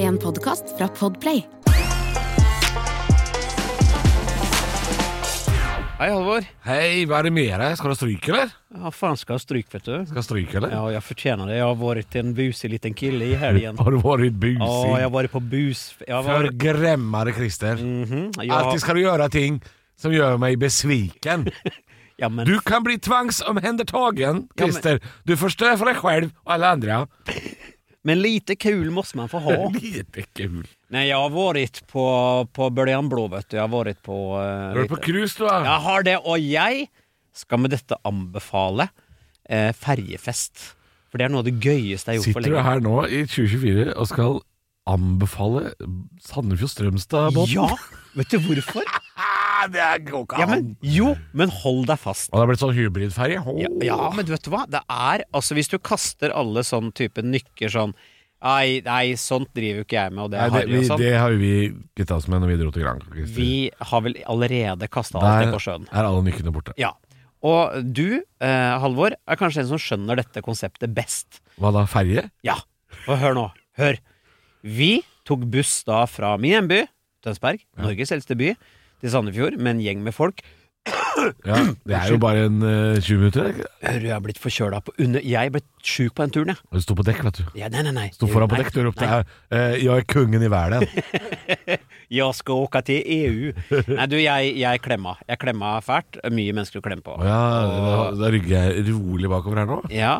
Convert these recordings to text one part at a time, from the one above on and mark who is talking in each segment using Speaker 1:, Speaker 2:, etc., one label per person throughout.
Speaker 1: En podkast fra Podplay.
Speaker 2: Hei, Halvor.
Speaker 3: Hei, hva er det med deg? Skal du stryke, eller?
Speaker 2: Ja, faen skal ha stryk, vet du.
Speaker 3: Skal du stryke, eller?
Speaker 2: Ja, jeg fortjener det. Jeg har vært en busig liten kille i helgen.
Speaker 3: Har du vært busig?
Speaker 2: Ja, jeg har vært på bus... Jeg har vært...
Speaker 3: Förgremmade Christer.
Speaker 2: Mhm, jeg har-
Speaker 3: Alltid skal du gjøre ting som gjør meg besviken.
Speaker 2: ja, men...
Speaker 3: Du kan bli tvangsomhändertagen,
Speaker 2: men-
Speaker 3: Christer. Du forstör för dig själv och alla andra.
Speaker 2: men lite kul måste man få ha.
Speaker 3: Lite kul.
Speaker 2: Nej, jag har varit på, på Böljan Blå, vet du. Jeg har vært på eh,
Speaker 3: Har du på
Speaker 2: lite-
Speaker 3: krus, du? va?
Speaker 2: Jeg har det, og jeg skal med dette anbefale eh, ferjefest. For det er noe av det gøyeste jeg har gjort
Speaker 3: Sitter
Speaker 2: for
Speaker 3: du
Speaker 2: lenge.
Speaker 3: her nå i 2024 og skal anbefale Sandefjord-Strømstad-båten?
Speaker 2: Ja! Vet du hvorfor?
Speaker 3: Ah, det er går ikke
Speaker 2: Ja,
Speaker 3: an.
Speaker 2: men, jo, men hold deg fast.
Speaker 3: Og det har blitt sånn hybridferje. Oh.
Speaker 2: Ja, ja, men du vet hva? Det er Altså, hvis du kaster alle sånn type nykker sånn Nei, nei, sånt driver jo ikke jeg med, og det
Speaker 3: Nei,
Speaker 2: er harry
Speaker 3: det, vi,
Speaker 2: og sånn.
Speaker 3: det har jo vi kvitta oss med når vi dro til Gran Christer.
Speaker 2: Vi har vel allerede kasta alt det
Speaker 3: Der
Speaker 2: på sjøen.
Speaker 3: er alle nykkene borte.
Speaker 2: Ja. Og du, eh, Halvor, er kanskje den som skjønner dette konseptet best.
Speaker 3: Hva da, ferje?
Speaker 2: Ja. Og hør nå. Hør. Vi tok buss da fra min hjemby, Tønsberg, Norges eldste by, til Sandefjord med en gjeng med folk.
Speaker 3: Ja, det er jo bare en eh, 20 minutter. er det ikke det?
Speaker 2: Hører du, jeg er blitt forkjøla på under Jeg ble sjuk på den turen, jeg.
Speaker 3: Du sto på dekk, vet du.
Speaker 2: Ja, nei, nei, nei.
Speaker 3: Sto foran på
Speaker 2: Nei,
Speaker 3: dekk, du ropte
Speaker 2: nei.
Speaker 3: uh, 'Jeg er kongen i verden'.
Speaker 2: Jeg skal åka til EU. Nei, du, jeg, jeg klemma. Jeg klemma fælt. Mye mennesker å klemme på.
Speaker 3: Å ja, da, da rygger jeg rolig bakover her nå.
Speaker 2: Ja,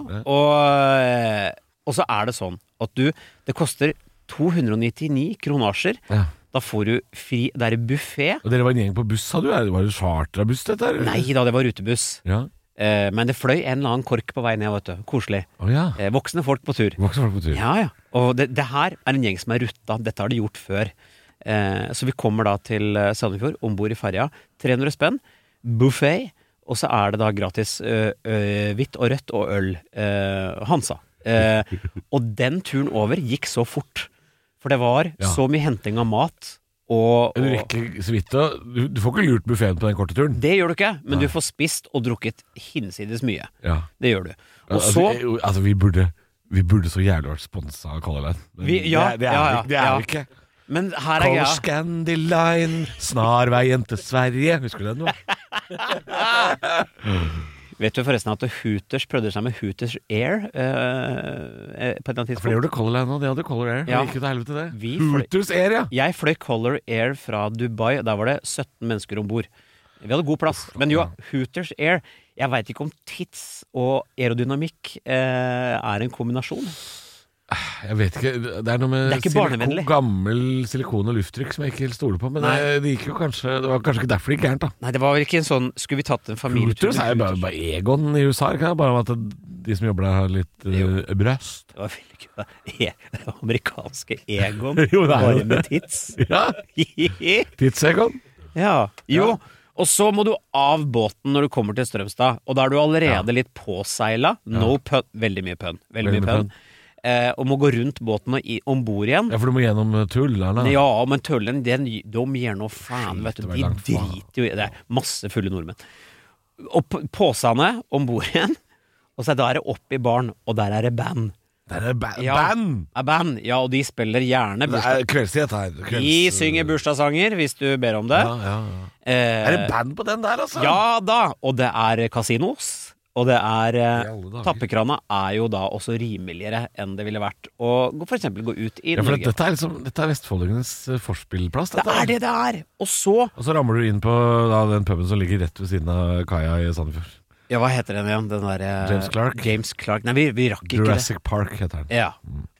Speaker 2: og, og så er det sånn at du Det koster 299 kronasjer.
Speaker 3: Ja.
Speaker 2: Da får du fri Det er buffé.
Speaker 3: Og dere var en gjeng på buss, sa du? Er det- Var det chartra buss, dette her?
Speaker 2: Nei da, det var rutebuss.
Speaker 3: Ja.
Speaker 2: Eh, Men det fløy en eller annen kork på vei ned, vet du. Koselig.
Speaker 3: Å ja.
Speaker 2: Eh, Voksne folk på tur.
Speaker 3: Det var ikke så folk på tur.
Speaker 2: Ja, ja. Og det, det her er en gjeng som er rutta. Dette har de gjort før. Eh, så vi kommer da til eh, Sandefjord, om bord i ferja. 300 spenn, buffé, og så er det da gratis eh, eh, hvitt og rødt og øl. eh, Hansa. Eh, og den turen over gikk så fort. For det var
Speaker 3: Ja.
Speaker 2: så mye henting av mat og,
Speaker 3: Du
Speaker 2: og
Speaker 3: rekker så vidt å du, du får ikke lurt buffeen på den korte turen.
Speaker 2: Det gjør du ikke, men du får spist og drukket hinsides mye.
Speaker 3: Ja.
Speaker 2: Det gjør du. Og
Speaker 3: altså,
Speaker 2: så
Speaker 3: vi- altså, vi burde vi burde så jævlig vært sponsa av Color Line. Men
Speaker 2: Vi- ja,
Speaker 3: det, det er
Speaker 2: ja, ja,
Speaker 3: vi- det er
Speaker 2: ja.
Speaker 3: vi ikke.
Speaker 2: Men her er
Speaker 3: Color
Speaker 2: greia.
Speaker 3: Scandi Line, snarveien til Sverige. Husker du den? nå?
Speaker 2: Vet du forresten at Hooters prøvde seg med Hooters Air eh, eh, på et eller annet
Speaker 3: For det
Speaker 2: tidspunkt?
Speaker 3: gjorde Color Line nå. De hadde Color Air.
Speaker 2: Ja.
Speaker 3: Det gikk jo til helvete, det.
Speaker 2: Vi fløy-
Speaker 3: Hooters Air, ja.
Speaker 2: Jeg fløy Color Air fra Dubai. Der var det 17 mennesker om bord. Vi hadde god plass. Men jo, Hooters Air Jeg veit ikke om tids og aerodynamikk eh, er en kombinasjon.
Speaker 3: Jeg vet ikke. Det er noe med
Speaker 2: Det er ikke barnevennlig.
Speaker 3: gammel silikon og lufttrykk som jeg ikke helt stoler på. Men det,
Speaker 2: Nei.
Speaker 3: det gikk jo kanskje Det var kanskje ikke derfor det gikk gærent, da.
Speaker 2: Nei, det var vel ikke en sånn Skulle vi tatt en familietur
Speaker 3: Hooters
Speaker 2: til
Speaker 3: er jo bare,
Speaker 2: Hooters?
Speaker 3: bare Egon i USA. Ikke? det? Bare om at de som jobber der, har litt eh, brøst.
Speaker 2: Det var veldig gøy. E- det Amerikanske Egon
Speaker 3: Jo, det er jo
Speaker 2: bare
Speaker 3: det.
Speaker 2: med tits.
Speaker 3: Ja. Tids-Egon.
Speaker 2: Ja. Jo, og så må du av båten når du kommer til Strømstad, og da er du allerede litt påseila. No pun. Veldig mye pønn. Veldig mye
Speaker 3: Veldig
Speaker 2: pønn. Eh, og må gå rundt båten og om bord igjen.
Speaker 3: Ja, for du må gjennom eh, tullerne.
Speaker 2: Ja, men tøllen, den, de gir noe faen, vet du.
Speaker 3: det var
Speaker 2: De
Speaker 3: langt faen.
Speaker 2: driter jo i det. er Masse fulle nordmenn. Og p- påsene om bord igjen, og så da er det opp i baren, og der er det band.
Speaker 3: Der er ba
Speaker 2: Ja.
Speaker 3: band!
Speaker 2: Ja, band. Ja, og de spiller gjerne
Speaker 3: Det
Speaker 2: bursdag.
Speaker 3: er kveldstid, dette her. Kvelds...
Speaker 2: De synger bursdagssanger, hvis du ber om det.
Speaker 3: Ja, ja, ja.
Speaker 2: Eh,
Speaker 3: Er det band på den der, altså?
Speaker 2: Ja da, og det er kasinos. Og det er eh,
Speaker 3: I alle dager.
Speaker 2: Tappekrana er jo da også rimeligere enn det ville vært å gå- for eksempel gå ut i
Speaker 3: Ja, for
Speaker 2: Norge.
Speaker 3: dette er liksom Dette er vestfoldingenes eh, forspillplass.
Speaker 2: Det
Speaker 3: Dette.
Speaker 2: er det det er! Og så
Speaker 3: Og så ramler du inn på da, den puben som ligger rett ved siden av kaia i Sandefjord.
Speaker 2: Ja, hva heter den igjen? Den derre
Speaker 3: James Clark?
Speaker 2: James Clark. Nei, vi, vi rakk ikke
Speaker 3: Jurassic Park heter den.
Speaker 2: det. Ja.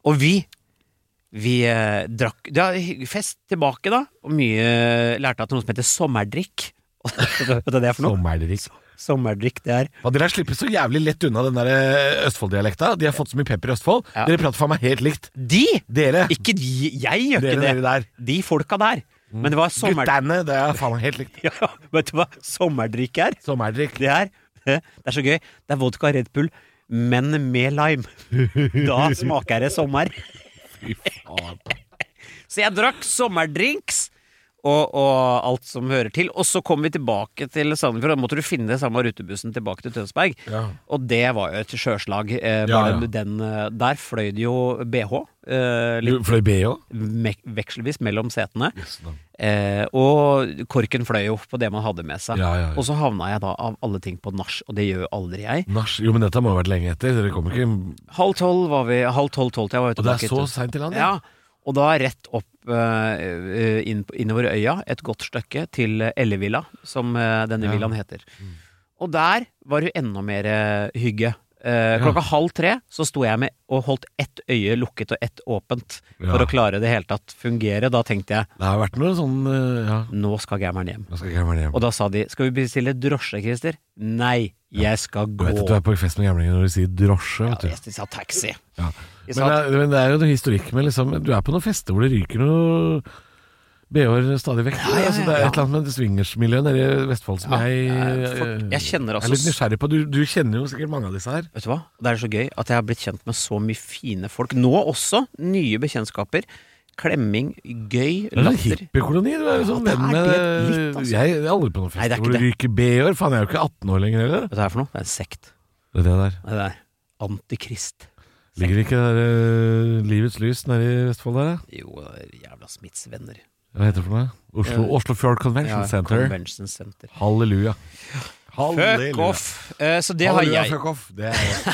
Speaker 2: Og vi vi eh, drakk Det er hy- fest tilbake, da. Og mye eh, lærte at noe som heter sommerdrikk. Vet du hva det er for noe?
Speaker 3: Sommerdrikk.
Speaker 2: Sommerdrikk, det er
Speaker 3: Ja, dere har slippet så jævlig lett unna den der eh, Østfold-dialekta. De har fått så mye pepper i Østfold.
Speaker 2: Ja.
Speaker 3: Dere prater faen meg helt likt.
Speaker 2: De!
Speaker 3: Dere,
Speaker 2: Ikke de, jeg gjør
Speaker 3: dere,
Speaker 2: ikke
Speaker 3: dere
Speaker 2: det.
Speaker 3: der.
Speaker 2: De folka der. Men det var sommer...
Speaker 3: Mm. Guttene, det er faen meg helt likt.
Speaker 2: Ja, vet du hva sommerdrikk er?
Speaker 3: Sommerdrikk.
Speaker 2: Det er, det er så gøy. Det er vodka Red Bull, men med lime. Da smaker det sommer.
Speaker 3: Fy faen.
Speaker 2: Så jeg drakk sommerdrinks, og, og alt som hører til. Og så kom vi tilbake til Sandefjord, og da måtte du finne den samme rutebussen tilbake til Tønsberg.
Speaker 3: Ja.
Speaker 2: Og det var jo et sjøslag. Eh,
Speaker 3: Ja,
Speaker 2: bare
Speaker 3: ja.
Speaker 2: Den, eh, der fløy det jo BH, eh, litt
Speaker 3: Du fløy BH?
Speaker 2: me vekselvis mellom setene.
Speaker 3: Yes, da.
Speaker 2: Eh, og korken fløy jo på det man hadde med seg.
Speaker 3: ja, ja,
Speaker 2: Og
Speaker 3: ja.
Speaker 2: så havna jeg da av alle ting på nach, og det gjør jo aldri jeg.
Speaker 3: Nach. Jo, men dette må ha vært lenge etter. Dere kommer ikke Og
Speaker 2: Halv tolv var vi Halv tolv, tolv til jeg var ute.
Speaker 3: det
Speaker 2: bak
Speaker 3: er
Speaker 2: et
Speaker 3: så
Speaker 2: hus.
Speaker 3: seint i landet?
Speaker 2: Ja, og da rett opp eh, inn, innover øya, et godt stykke, til eh, Ellevilla, som eh, denne
Speaker 3: Ja. Mm.
Speaker 2: villaen heter. Og der var det jo enda mer eh, hygge. Eh, klokka halv tre så sto jeg med og holdt ett øye lukket og ett åpent for
Speaker 3: Ja.
Speaker 2: å klare det hele tatt fungere. Da tenkte jeg
Speaker 3: Det har vært noe sånn eh, Ja,
Speaker 2: nå skal Gæmeren hjem.
Speaker 3: nå skal jeg gamle hjem.
Speaker 2: Og da sa de skal vi bestille drosje, Christer? Nei, jeg skal
Speaker 3: Du
Speaker 2: gå.
Speaker 3: vet at du er på fest med gamlinger når de sier drosje,
Speaker 2: Ja,
Speaker 3: vet du.
Speaker 2: jeg sa taxi.
Speaker 3: Ja.
Speaker 2: Jeg
Speaker 3: Men,
Speaker 2: sa
Speaker 3: det er, men det er jo noe historikk med liksom Du er på noen fester hvor det ryker noe BH-er stadig vekk.
Speaker 2: ja, ja,
Speaker 3: altså, det er
Speaker 2: ja.
Speaker 3: et eller annet med det swingersmiljøet nede i Vestfold som
Speaker 2: Ja,
Speaker 3: jeg eh,
Speaker 2: jeg- for- jeg kjenner altså-
Speaker 3: er litt nysgjerrig på. Du, du kjenner jo sikkert mange av disse her.
Speaker 2: Vet du hva? Det er så gøy at jeg har blitt kjent med så mye fine folk. Nå også. Nye bekjentskaper. Klemming, gøy,
Speaker 3: Det er en
Speaker 2: latter.
Speaker 3: hippiekoloni. Du er jo
Speaker 2: Ja,
Speaker 3: sånn
Speaker 2: det er
Speaker 3: venn med
Speaker 2: det litt, altså.
Speaker 3: Jeg er aldri på noen
Speaker 2: Nei, det er ikke
Speaker 3: fester hvor det ryker BH-er. Faen, jeg er jo ikke 18 år lenger heller.
Speaker 2: Vet du hva det er for noe? Det er en sekt.
Speaker 3: Det er det der.
Speaker 2: Det er antikrist.
Speaker 3: Ligger ikke det der eh, Livets Lys nede i Vestfold der, da?
Speaker 2: Jo, det er jævla Smiths venner.
Speaker 3: Hva heter det for noe? Oslo,
Speaker 2: Eh,
Speaker 3: Oslo Fjord Convention
Speaker 2: Ja,
Speaker 3: Center.
Speaker 2: Convention Center.
Speaker 3: Halleluja.
Speaker 2: Fuck off! Eh, så det har
Speaker 3: Halleluja,
Speaker 2: jeg.
Speaker 3: fuck off. Det er-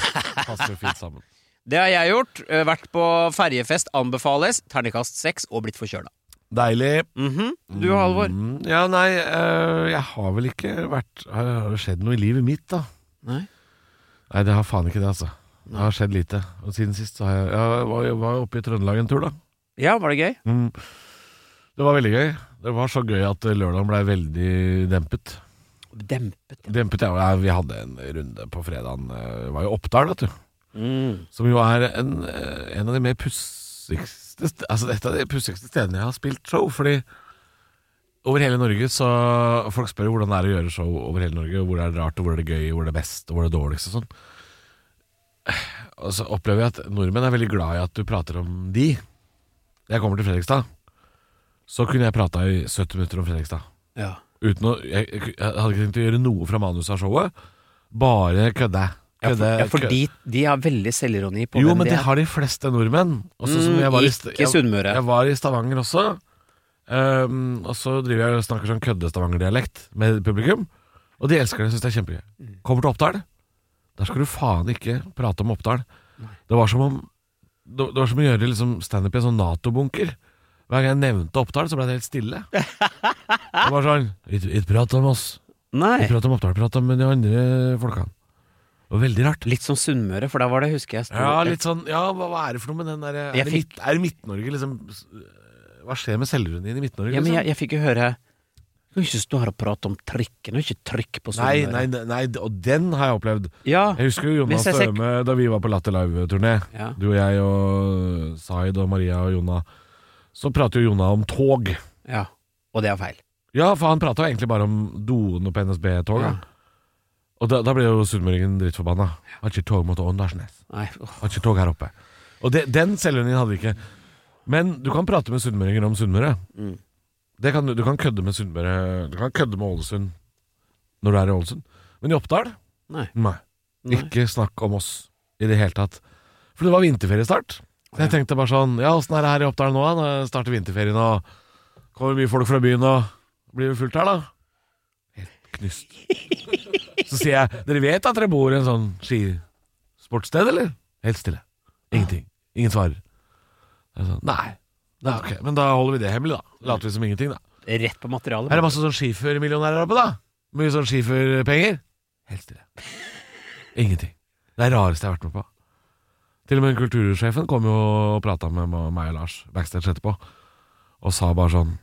Speaker 3: passer fint sammen.
Speaker 2: Det har jeg gjort. Eh, Vært på ferjefest, anbefales. Ternekast seks og blitt forkjøla.
Speaker 3: Deilig.
Speaker 2: Mhm. Du, Halvor?
Speaker 3: Mm, ja, nei, øh, jeg har vel ikke vært Har har det skjedd noe i livet mitt, da?
Speaker 2: Nei.
Speaker 3: Nei, det har faen ikke det, altså. Det har skjedd lite. Og siden sist så har jeg Jeg var, jeg var oppe i Trøndelag en tur, da.
Speaker 2: Ja, var det gøy?
Speaker 3: Mm. Det var veldig gøy. Det var så gøy at lørdagen blei veldig dempet.
Speaker 2: Dempet.
Speaker 3: Dempet, ja. ja. Vi hadde en runde på fredagen. eh, Det var jo Oppdal, vet du.
Speaker 2: Mm.
Speaker 3: Som jo er en, eh, en av de mer pussigste st- Altså et av de pussigste stedene jeg har spilt show. Fordi over hele Norge så Folk spør jo hvordan det er å gjøre show over hele Norge. og Hvor det er rart, og hvor det er gøy, og hvor det er best, og hvor det er dårligst og sånn. Og så opplever jeg at nordmenn er veldig glad i at du prater om de. Jeg kommer til Fredrikstad. Så kunne jeg prata i 70 minutter om Fredrikstad.
Speaker 2: Ja.
Speaker 3: Uten å, jeg, jeg hadde ikke tenkt å gjøre noe fra manuset av showet. Bare kødde.
Speaker 2: Ja, for,
Speaker 3: Kødde-
Speaker 2: ja, for
Speaker 3: kø-
Speaker 2: de, de har veldig selvironi på
Speaker 3: jo,
Speaker 2: hvem
Speaker 3: men
Speaker 2: de
Speaker 3: det
Speaker 2: er.
Speaker 3: har de fleste nordmenn. Også, som
Speaker 2: Mm,
Speaker 3: jeg var i, st-
Speaker 2: ikke
Speaker 3: jeg,
Speaker 2: Sunnmøre.
Speaker 3: jeg var i Stavanger også. Ehm, og så driver jeg og snakker sånn kødde-stavangerdialekt med publikum. Og de elsker det. Syns det er kjempegøy.
Speaker 2: Mm.
Speaker 3: Kommer til Oppdal. Der skal du faen ikke prate om Oppdal. Det var som om Det, det var som å gjøre liksom standup i en sånn Nato-bunker. Hver gang jeg nevnte Oppdal, så ble det helt stille. Det var sånn Ikke ikke prat om oss.
Speaker 2: Nei.
Speaker 3: Ikke prat om Oppdal. Prat om de andre folka. Det var veldig rart.
Speaker 2: Litt som Sunnmøre, for der var det, husker jeg sto-
Speaker 3: Ja, litt sånn Ja, hva, hva er det for noe med den derre
Speaker 2: Jeg
Speaker 3: Er det
Speaker 2: fikk-
Speaker 3: midt- er det Midt-Norge, liksom s- Hva skjer med selvironien i Midt-Norge?
Speaker 2: ja, men
Speaker 3: liksom?
Speaker 2: jeg, jeg fikk jo høre Du kan ikke stå her og prate om trikken, du er ikke trykk på
Speaker 3: nei,
Speaker 2: Sunnmøre.
Speaker 3: nei, nei, nei, og den har jeg opplevd.
Speaker 2: Ja.
Speaker 3: Jeg husker jo Jonas
Speaker 2: Hvis jeg ser-
Speaker 3: Støme da vi var på Latter Live-turné.
Speaker 2: Ja.
Speaker 3: Du og jeg og eh, Zaid og Maria og Jonna. Så prater jo Jonna om tog.
Speaker 2: ja. Og det er feil.
Speaker 3: Ja, for han prata jo egentlig bare om doene på NSB-toga. Og da, da ble jo sunnmøringen drittforbanna. Har ikke tog mot Åndalsnes.
Speaker 2: Nei. åh.
Speaker 3: Har ikke tog her oppe. Og det, den selvhøringen hadde vi ikke. Men du kan prate med sunnmøringer om Sunnmøre.
Speaker 2: Mm.
Speaker 3: Det kan, du- du kan kødde med Sunnmøre Du kan kødde med Ålesund når du er i Ålesund. Men i Oppdal
Speaker 2: Nei.
Speaker 3: nei.
Speaker 2: Nei.
Speaker 3: Ikke snakk om oss i det hele tatt. For det var vinterferiestart. Så jeg tenkte bare sånn Ja, åssen er det her i Oppdal nå? da? Nå starter vinterferien, og kommer mye folk fra byen, og blir det fullt her, da? Helt knust. Så sier jeg Dere vet at dere bor i en sånn skisportssted, eller? Helt stille. Ingenting. Ingen svarer. Jeg sa, nei. nei. Ok, men da holder vi det hemmelig, da. Later vi som ingenting, da.
Speaker 2: Rett på materialet.
Speaker 3: Er det masse sånn skiførmillionærer oppe, da? Mye sånn skiførpenger? Helt stille. Ingenting. Det er det rareste jeg har vært med på. Til og med kultursjefen kom jo og prata med meg meg og Lars backstage etterpå, og sa bare sånn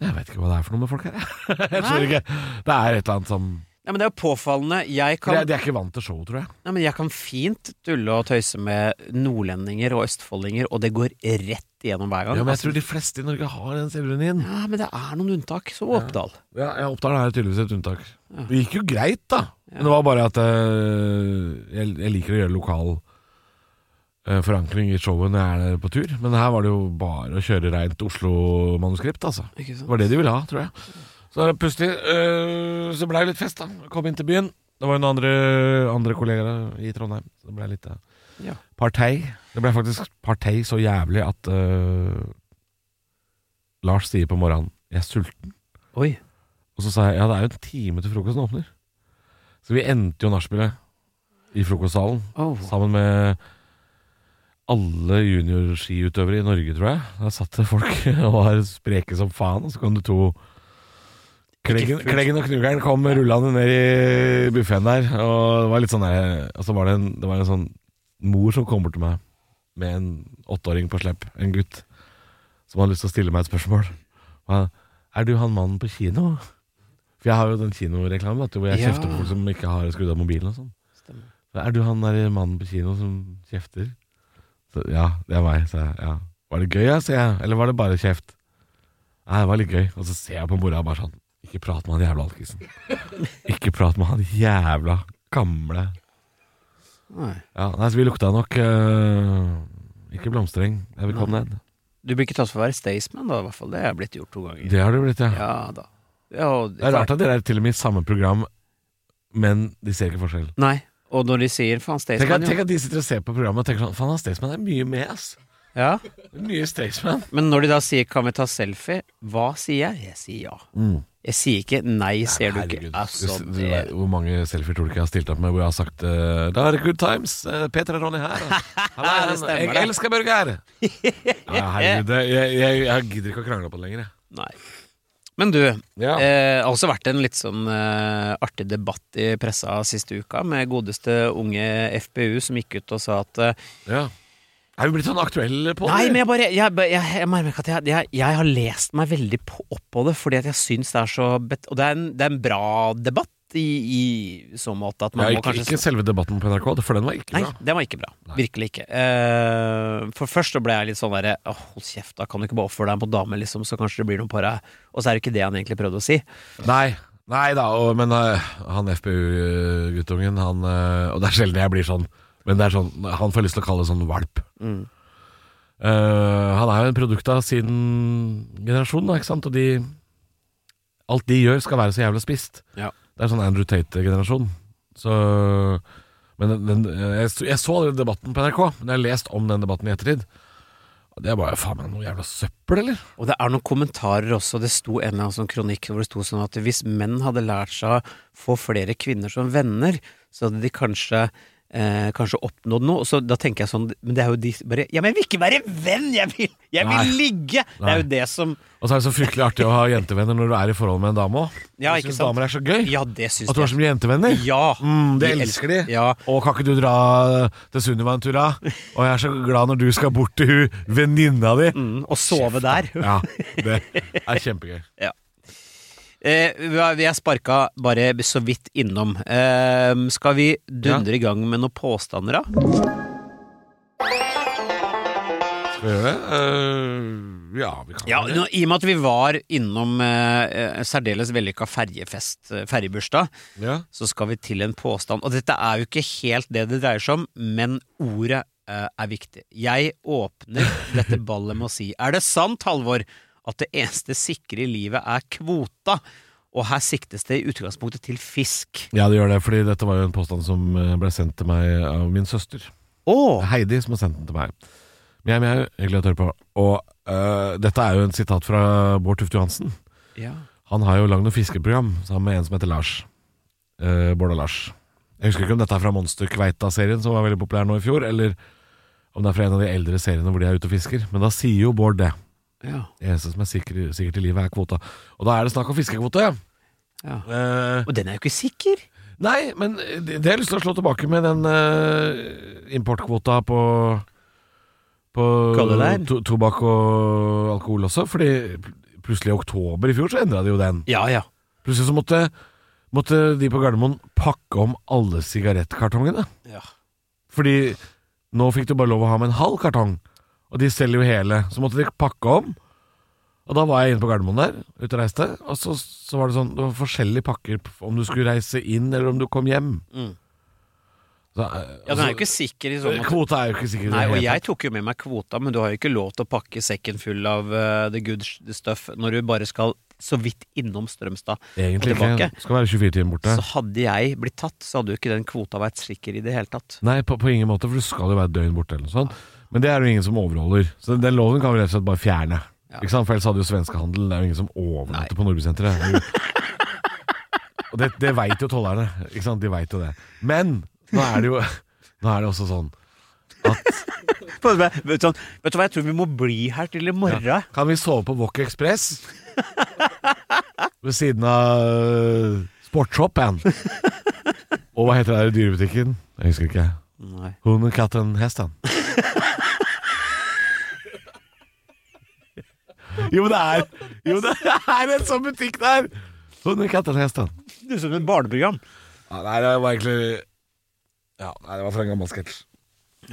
Speaker 3: Jeg vet ikke hva det er for noe med folk her, jeg. Jeg skjønner ikke. Det er et eller annet som
Speaker 2: Nei, men det er jo påfallende. Jeg
Speaker 3: De
Speaker 2: kan,
Speaker 3: er- de er ikke vant til show, tror jeg.
Speaker 2: nei, men jeg kan fint tulle og tøyse med nordlendinger og østfoldinger, og det går rett igjennom hver gang.
Speaker 3: Ja, men jeg
Speaker 2: Altså,
Speaker 3: tror de fleste i Norge har den selvrunin.
Speaker 2: ja, men det er noen unntak. Så Oppdal.
Speaker 3: Ja, jeg oppdager det her tydeligvis et unntak.
Speaker 2: Ja.
Speaker 3: Det gikk jo greit, da. Men det var bare at eh, jeg, jeg liker å gjøre lokal eh, forankring i showet når jeg er der på tur. Men her var det jo bare å kjøre reint Oslo-manuskript, altså.
Speaker 2: Ikke sant?
Speaker 3: Det var det de ville ha, tror jeg. Så plutselig øh, så ble det litt fest, da. Kom inn til byen. Det var jo noen andre, andre kollegaer i Trondheim. så Det ble litt eh,
Speaker 2: Ja.
Speaker 3: partei. Det ble faktisk partei så jævlig at øh, Lars sier på morgenen 'Jeg er sulten'.
Speaker 2: Oi.
Speaker 3: Og så sa jeg 'Ja, det er jo en time til frokosten åpner'. Så vi endte jo nachspielet i frokostsalen.
Speaker 2: Oh.
Speaker 3: Sammen med alle juniorskiutøvere i Norge, tror jeg. Der satt det folk og var spreke som faen. Og så kom det to Kleggen,
Speaker 2: fullt.
Speaker 3: Kleggen og Knugeren kom rullende ned i buffeen der. Og det var litt sånn der Og så var det en, det var en sånn mor som kom bort til meg med en åtteåring på slep. En gutt som hadde lyst til å stille meg et spørsmål. Og han, Er du han mannen på kino? For jeg har jo den kinoreklamen vet du, hvor jeg
Speaker 2: Ja.
Speaker 3: kjefter på folk som ikke har skrudd av mobilen og sånn.
Speaker 2: Stemmer.
Speaker 3: Er du han der mannen på kino som kjefter? Så, ja, det er meg, sa jeg. Ja. Var det gøy, ja, sier jeg. Eller var det bare kjeft? Nei, det var litt gøy. Og så ser jeg på mora og bare sånn Ikke prat med han jævla alkisen. Ikke prat med han jævla gamle
Speaker 2: Nei.
Speaker 3: ja, Nei, så vi lukta nok eh, Ikke blomstereng da vi kom
Speaker 2: Nei.
Speaker 3: ned.
Speaker 2: Du blir ikke tatt for å være Staysman, da, i hvert fall. Det er blitt gjort to ganger.
Speaker 3: Det har det blitt, ja.
Speaker 2: Ja da. Ja, og,
Speaker 3: Det er rart at dere er til og med i samme program, men de ser ikke forskjell.
Speaker 2: Nei. Og når de sier faen
Speaker 3: Tenk at,
Speaker 2: Staysman,
Speaker 3: tenk at de sitter og ser på programmet og tenker sånn Faen, han Staysman er mye med, ass.
Speaker 2: jo. Ja.
Speaker 3: Mye Staysman.
Speaker 2: Men når de da sier 'kan vi ta selfie', hva sier jeg? Jeg sier ja.
Speaker 3: Mm.
Speaker 2: Jeg sier ikke 'nei, ser du ikke'.
Speaker 3: Herregud.
Speaker 2: Altså,
Speaker 3: Du- du vet
Speaker 2: det,
Speaker 3: Hvor mange selfier tror du ikke jeg har stilt opp med hvor jeg har sagt eh, Da er det good times. eh, Peter og Ronny her. Halla,
Speaker 2: Det
Speaker 3: han.
Speaker 2: stemmer,
Speaker 3: jeg
Speaker 2: det.
Speaker 3: elsker burger! ja, herregud, det- jeg, jeg, jeg gidder ikke å krangle på det lenger, jeg.
Speaker 2: nei. Men du,
Speaker 3: Ja.
Speaker 2: eh, har også vært en litt sånn eh, artig debatt i pressa siste uka, med godeste unge FPU som gikk ut og sa at eh,
Speaker 3: Ja. Er vi blitt sånn aktuelle på
Speaker 2: Nei,
Speaker 3: det?
Speaker 2: men jeg bare Jeg, jeg, jeg, jeg merker at jeg, jeg, jeg har lest meg veldig på, opp på det, fordi at jeg syns det er så bet Og det er en, det er en bra debatt i, i så måte at man
Speaker 3: ja,
Speaker 2: må
Speaker 3: ikke,
Speaker 2: kanskje
Speaker 3: ikke selve debatten på NRK, for den var ikke
Speaker 2: Nei,
Speaker 3: bra.
Speaker 2: den var ikke bra. Virkelig ikke. Eh, for først så ble jeg litt sånn derre «Åh, Hold kjeft, da kan du ikke bare oppføre deg mot damer, liksom, så kanskje det blir noe på deg. Og så er det ikke det han egentlig prøvde å si.
Speaker 3: Nei, nei da, og, men eh, han FPU-guttungen, han eh, Og det er sjelden jeg blir sånn, men det er sånn, han får lyst til å kalle det sånn valp. Eh, han er jo en produkt av sin generasjon, da, ikke sant? Og de Alt de gjør, skal være så jævla spist.
Speaker 2: Ja.
Speaker 3: Det er sånn Andrew Tate-generasjon. Så Men den, den, jeg, så- jeg så den debatten på NRK, men jeg har lest om den debatten i ettertid. Og det er bare faen meg noe jævla søppel, eller?
Speaker 2: Og det er noen kommentarer også. Det sto en eller annen sånn kronikk hvor det sto sånn at hvis menn hadde lært seg å få flere kvinner som venner, så hadde de kanskje eh, Kanskje oppnådd noe. Og Så da tenker jeg sånn Men det er jo de som bare Ja, men jeg vil ikke være venn! Jeg vil, jeg vil
Speaker 3: Nei.
Speaker 2: ligge! Det er jo det som
Speaker 3: Og så er det så fryktelig artig å ha jentevenner når du er i forhold med en dame òg.
Speaker 2: Ja,
Speaker 3: jeg
Speaker 2: ikke
Speaker 3: syns
Speaker 2: sant?
Speaker 3: damer er så gøy.
Speaker 2: Ja, det syns
Speaker 3: At du har så mye jentevenner.
Speaker 2: Ja.
Speaker 3: Mm, det
Speaker 2: Vi
Speaker 3: elsker de.
Speaker 2: Ja.
Speaker 3: Og kan ikke du dra til Sunniva en tur, da? Og jeg er så glad når du skal bort til hun venninna di.
Speaker 2: Mm, og sove der.
Speaker 3: Ja, det er kjempegøy.
Speaker 2: Eh, vi har- vi er sparka bare så vidt innom. Eh, skal vi dundre i gang med noen påstander, da?
Speaker 3: Skal vi gjøre det? Eh, ja, vi kan
Speaker 2: Ja,
Speaker 3: gjøre det.
Speaker 2: nå, I og med at vi var innom eh, eh, særdeles vellykka ferjefest, eh, ferjebursdag,
Speaker 3: Ja.
Speaker 2: så skal vi til en påstand. Og dette er jo ikke helt det det dreier seg om, men ordet eh, er viktig. Jeg åpner dette ballet med å si Er det sant, Halvor, at det eneste sikre i livet er kvota? Og her siktes det i utgangspunktet til fisk.
Speaker 3: ja, det gjør det, fordi dette var jo en påstand som eh, ble sendt til meg av min søster.
Speaker 2: Å!
Speaker 3: Heidi som har sendt den til meg. Mjau, mjau, hyggelig å høre på. Og eh, dette er jo en sitat fra Bård Tufte Johansen.
Speaker 2: Ja.
Speaker 3: Han har jo lagd noe fiskeprogram sammen med en som heter Lars. Eh, Bård og Lars. Jeg husker ikke om dette er fra Monster Kveita-serien, som var veldig populær nå i fjor, eller om det er fra en av de eldre seriene hvor de er ute og fisker. Men da sier jo Bård det.
Speaker 2: ja.
Speaker 3: Det eneste som er sikkert, sikkert i livet, er kvota. Og da er det snakk om fiskekvote.
Speaker 2: Ja.
Speaker 3: Eh,
Speaker 2: Og den er jo ikke sikker.
Speaker 3: nei, men det, det har jeg lyst til å slå tilbake med den eh, importkvota på på
Speaker 2: Color Line.
Speaker 3: to, tobakk og alkohol også, fordi pl- plutselig i oktober i fjor så endra de jo den.
Speaker 2: Ja, ja.
Speaker 3: Plutselig så måtte, måtte de på Gardermoen pakke om alle sigarettkartongene. Fordi nå fikk du bare lov å ha med en halv kartong, og de selger jo hele. Så måtte de pakke om. Og da var jeg inne på Gardermoen der, ute og reiste, og så, så var det sånn Det var forskjellige pakker p- om du skulle reise inn, eller om du kom hjem.
Speaker 2: Mm.
Speaker 3: Så, eh,
Speaker 2: Ja, den er jo
Speaker 3: altså,
Speaker 2: ikke sikker i så måte.
Speaker 3: Kvota er jo ikke sikkert. i det
Speaker 2: Nei, og
Speaker 3: hele
Speaker 2: jeg tok jo med meg kvota, men du har jo ikke lov til å pakke sekken full av eh, the good stuff når du bare skal så vidt innom Strømstad.
Speaker 3: tatt. Egentlig ikke.
Speaker 2: tilbake.
Speaker 3: Skal være 24 timer borte.
Speaker 2: Så hadde jeg blitt tatt, så hadde jo ikke den kvota vært sikker i det hele tatt.
Speaker 3: Nei, på, på ingen måte, for du skal jo være et døgn borte eller noe sånt. Men det er jo ingen som overholder. Så den- den loven kan vi rett og slett bare fjerne.
Speaker 2: Ja.
Speaker 3: Ikke sant? For ellers hadde jo svenskehandel Det er jo ingen som overnatter på Nordbysenteret. Det er jo- Og det, det veit jo tollerne. Ikke sant? De veit jo det. Men nå er det jo Nå er det også sånn
Speaker 2: Vet du, sånn, vet du hva, jeg tror vi må bli her til i morgen.
Speaker 3: Kan vi sove på Wok Express? Ved siden av øh, Sportshoppen. Og hva heter det der i dyrebutikken? Jeg husker ikke.
Speaker 2: Nei.
Speaker 3: Hunden, katten, hesten. Jo, men det er Jo, det er en sånn butikk der! Hunden, katten, hesten.
Speaker 2: Du er som et barneprogram.
Speaker 3: Ja, nei, det var egentlig Ja, nei, det var fra en gammel sketsj.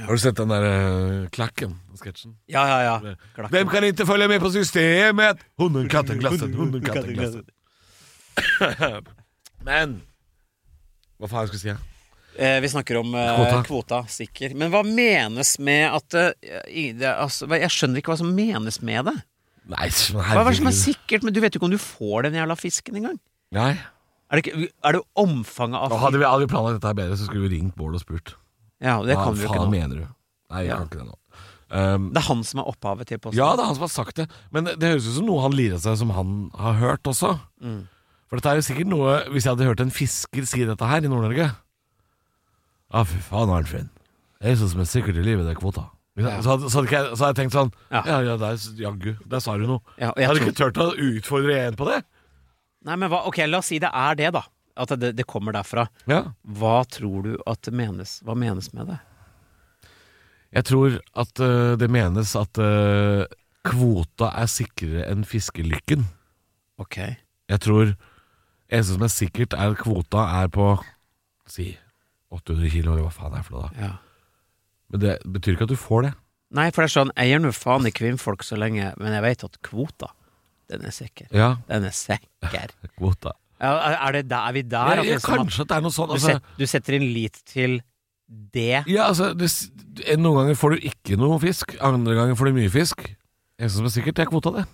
Speaker 3: Har du sett den der øh, Klakken-sketsjen?
Speaker 2: Ja, ja, ja. Klakk.
Speaker 3: Hvem kan ikke følge med på systemet? Hunden, katten, glassen, hunden, katten, glassen. Men Hva faen skal jeg si? ja?
Speaker 2: Eh, vi snakker om eh,
Speaker 3: Kvota.
Speaker 2: kvota. sikker. Men hva menes med at eh, i, det, altså, hva- Jeg skjønner ikke hva som menes med det.
Speaker 3: Nei, men
Speaker 2: Hva er det som er
Speaker 3: herregud.
Speaker 2: sikkert? Men du vet jo ikke om du får den jævla fisken engang.
Speaker 3: Nei.
Speaker 2: Er det, ikke, er det omfanget av
Speaker 3: Og hadde vi aldri planlagt dette her bedre, så skulle vi ringt Bård og spurt.
Speaker 2: Ja, det
Speaker 3: Hva
Speaker 2: kan vi jo
Speaker 3: faen
Speaker 2: ikke nå.
Speaker 3: mener du? Nei, vi
Speaker 2: Ja.
Speaker 3: kan ikke det nå. Um,
Speaker 2: Det er han som er opphavet til posten.
Speaker 3: ja, det er han som har sagt det, men det høres ut som noe han lirer seg som han har hørt også.
Speaker 2: Mm.
Speaker 3: For dette er jo sikkert noe Hvis jeg hadde hørt en fisker si dette her i Nord-Norge Ja, fy faen, Arnfinn. Det eneste som er sikkert i livet, det er kvota. Så hadde, så, hadde ikke jeg, så hadde jeg tenkt sånn Ja,
Speaker 2: Ja.
Speaker 3: ja, der, jaggu, der sa du noe.
Speaker 2: Ja, og
Speaker 3: Jeg
Speaker 2: jeg
Speaker 3: hadde
Speaker 2: tror-
Speaker 3: ikke turt å utfordre en på det.
Speaker 2: Nei, men hva, ok, La oss si det er det, da. At det, det kommer derfra.
Speaker 3: Ja.
Speaker 2: Hva tror du at det menes Hva menes med det?
Speaker 3: Jeg tror at øh, det menes at øh, kvota er sikrere enn fiskelykken.
Speaker 2: Ok
Speaker 3: Jeg tror eneste som er sikkert, er at kvota er på si 800 kilo, eller hva faen det er for noe, da.
Speaker 2: ja.
Speaker 3: Men det betyr ikke at du får det.
Speaker 2: Nei, for det er sånn Jeg gir nå faen i kvinnfolk så lenge, men jeg veit at kvota, den er sikker.
Speaker 3: Ja,
Speaker 2: Den er sikker.
Speaker 3: kvota.
Speaker 2: Ja, er- er, det der, er vi der?
Speaker 3: Ja,
Speaker 2: at
Speaker 3: ja,
Speaker 2: liksom at
Speaker 3: kanskje at det er noe sånt.
Speaker 2: du,
Speaker 3: Altså,
Speaker 2: set, du setter inn lit til det?
Speaker 3: ja, altså, det, s- eh, noen ganger får du ikke noe fisk, andre ganger får du mye fisk. Eneste som er sikkert, det er kvota, det.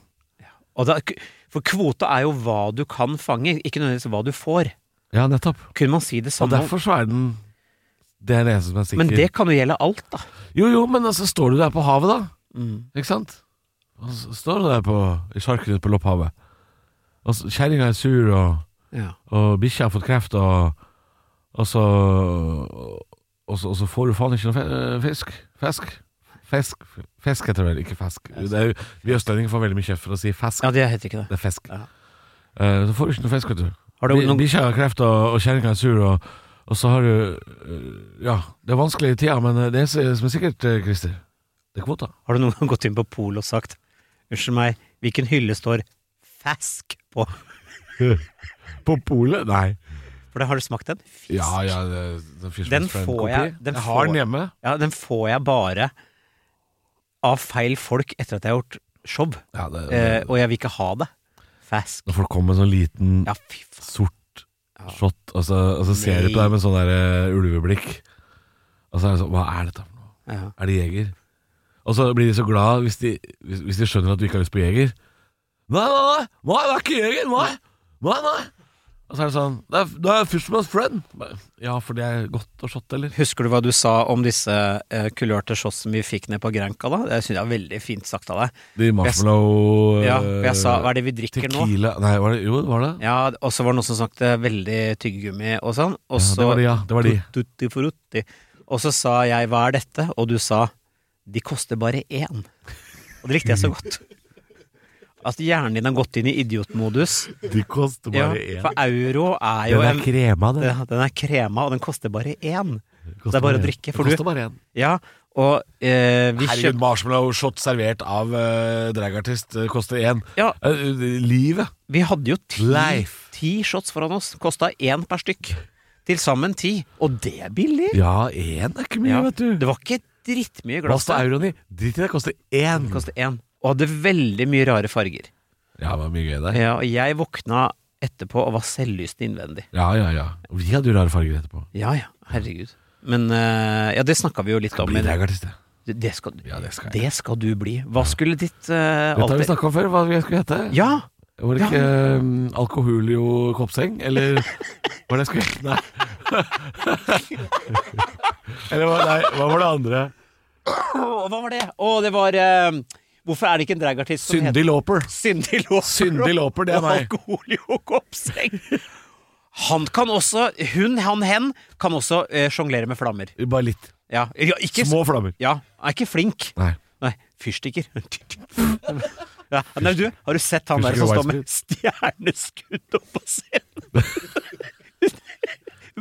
Speaker 2: Og da, for kvota er jo hva du kan fange, ikke nødvendigvis hva du får.
Speaker 3: Ja, nettopp.
Speaker 2: Kunne man si det
Speaker 3: Og
Speaker 2: samme om
Speaker 3: derfor så er den Det er det eneste som er sikkert.
Speaker 2: Men det kan jo gjelde alt, da.
Speaker 3: Jo, jo, men altså, står du der på havet, da?
Speaker 2: Mm.
Speaker 3: Ikke sant? Og så står du der på, i sjarken ute på Lopphavet. Og så- Kjerringa er sur, og,
Speaker 2: Ja.
Speaker 3: og bikkja har fått kreft, og, og, så, og, så, og så får du faen ikke noe fe- eh, fisk. Fisk. Fisk, fisk heter det vel, ikke fisk. Det er, jo- vi østlendinger får veldig mye kjeft for å si fisk.
Speaker 2: ja, det heter ikke det.
Speaker 3: Det er fisk.
Speaker 2: Ja.
Speaker 3: Eh, så får du ikke noe fisk, vet du.
Speaker 2: Har du
Speaker 3: Bi-
Speaker 2: noen-
Speaker 3: Bikkja har kreft, og, og kjerringa er sur, og, og så har du eh, Ja, det er vanskelig i tida, men eh, det er s- som er sikkert, eh, Christer, det er kvota.
Speaker 2: Har du noen gang gått inn på polet og sagt Unnskyld meg, hvilken hylle står fask på?
Speaker 3: På polet? Nei.
Speaker 2: For det har du smakt den? Fisk.
Speaker 3: Ja, ja, det, det er
Speaker 2: Den får jeg- den
Speaker 3: jeg har
Speaker 2: får-
Speaker 3: den hjemme.
Speaker 2: Ja, den får jeg bare av feil folk etter at jeg har gjort show.
Speaker 3: Ja, det,
Speaker 2: Eh, og jeg vil ikke ha det. Fask.
Speaker 3: Når folk kommer med sånn liten
Speaker 2: Ja, fy faen.
Speaker 3: sort shot, og så, og så ser de på deg med sånn der eh, ulveblikk. Og så er det sånn Hva er dette for noe?
Speaker 2: Ja.
Speaker 3: Er det jeger? Og så blir de så glad hvis de, hvis, hvis de skjønner at du ikke har lyst på jeger. Nei, nei, nei, nei, det er ikke jeger! Nei, nei, nei. Og så er det sånn Det er, det er Fisherman's Friend. Bare, Ja, for det er godt å shotte, eller?
Speaker 2: Husker du hva du sa om disse eh, kulørte shots som vi fikk ned på Granca? da? Det synes jeg er veldig fint sagt av deg.
Speaker 3: De marshmallow eh,
Speaker 2: Ja, for jeg sa hva er det vi drikker nå?
Speaker 3: Tequila Nei, var det, jo, det var det.
Speaker 2: Ja, og så var det noen som snakket veldig tyggegummi og sånn. Og
Speaker 3: Ja,
Speaker 2: så
Speaker 3: det var de, ja. Det var de.
Speaker 2: Tut- Tutti frutti. Og så sa jeg 'hva er dette?' og du sa 'de koster bare én'. Og det likte jeg så godt. At hjernen din har gått inn i idiotmodus.
Speaker 3: De koster
Speaker 2: Ja,
Speaker 3: bare én.
Speaker 2: for euro er jo
Speaker 3: Den er
Speaker 2: en
Speaker 3: krema, den.
Speaker 2: ja, Den er krema, og den koster bare én.
Speaker 3: Koster
Speaker 2: Det er bare
Speaker 3: én.
Speaker 2: å drikke. For
Speaker 3: Det
Speaker 2: du
Speaker 3: koster bare én.
Speaker 2: Ja, og eh, vi
Speaker 3: Herregud,
Speaker 2: kjøpte
Speaker 3: marshmallow shot servert av eh, dragartist eh, koster én.
Speaker 2: ja,
Speaker 3: Eh, livet.
Speaker 2: Vi hadde jo ti,
Speaker 3: Leif.
Speaker 2: ti shots foran oss. Kosta én per stykk. Til sammen ti. Og det er billig!
Speaker 3: Ja, én er ikke mye,
Speaker 2: Ja,
Speaker 3: vet du.
Speaker 2: Det var ikke drittmye glass.
Speaker 3: Plast og euroni. Drit i det, koster én.
Speaker 2: Det kostet én. Og hadde veldig mye rare farger.
Speaker 3: Ja, det var mye gøy der.
Speaker 2: Ja, og jeg våkna etterpå og var selvlysende innvendig.
Speaker 3: Ja, ja, ja. Og Vi hadde jo rare farger etterpå.
Speaker 2: Ja ja, herregud. Men eh, ja, det snakka vi jo litt om.
Speaker 3: Bli
Speaker 2: men-
Speaker 3: dragartist, jeg.
Speaker 2: Det skal,
Speaker 3: Ja, det skal jeg.
Speaker 2: det skal du bli. Hva skulle ditt eh,
Speaker 3: Dette har vi
Speaker 2: alter-
Speaker 3: snakka om før, hva jeg skulle hete.
Speaker 2: Ja!
Speaker 3: Var det
Speaker 2: Ja.
Speaker 3: ikke eh, Alkoholio Kopseng? Eller var det jeg skulle hete? Nei. Eller hva, nei, hva var det andre?
Speaker 2: Å, hva var det? Å, det var eh, Hvorfor er det ikke en dragartist som
Speaker 3: Syndig Lauper.
Speaker 2: heter Syndig Låper?
Speaker 3: Syndig Lauper, det er
Speaker 2: og
Speaker 3: meg.
Speaker 2: Alkohol i oppseng. Han kan også Hun, han, hen kan også eh, sjonglere med flammer.
Speaker 3: Bare litt.
Speaker 2: Ja, ja ikke
Speaker 3: Små flammer.
Speaker 2: Ja, han er ikke flink.
Speaker 3: Nei.
Speaker 2: Nei, fyrstikker. Ja, nei, du, har du sett han der som står med stjerneskudd opp på scenen?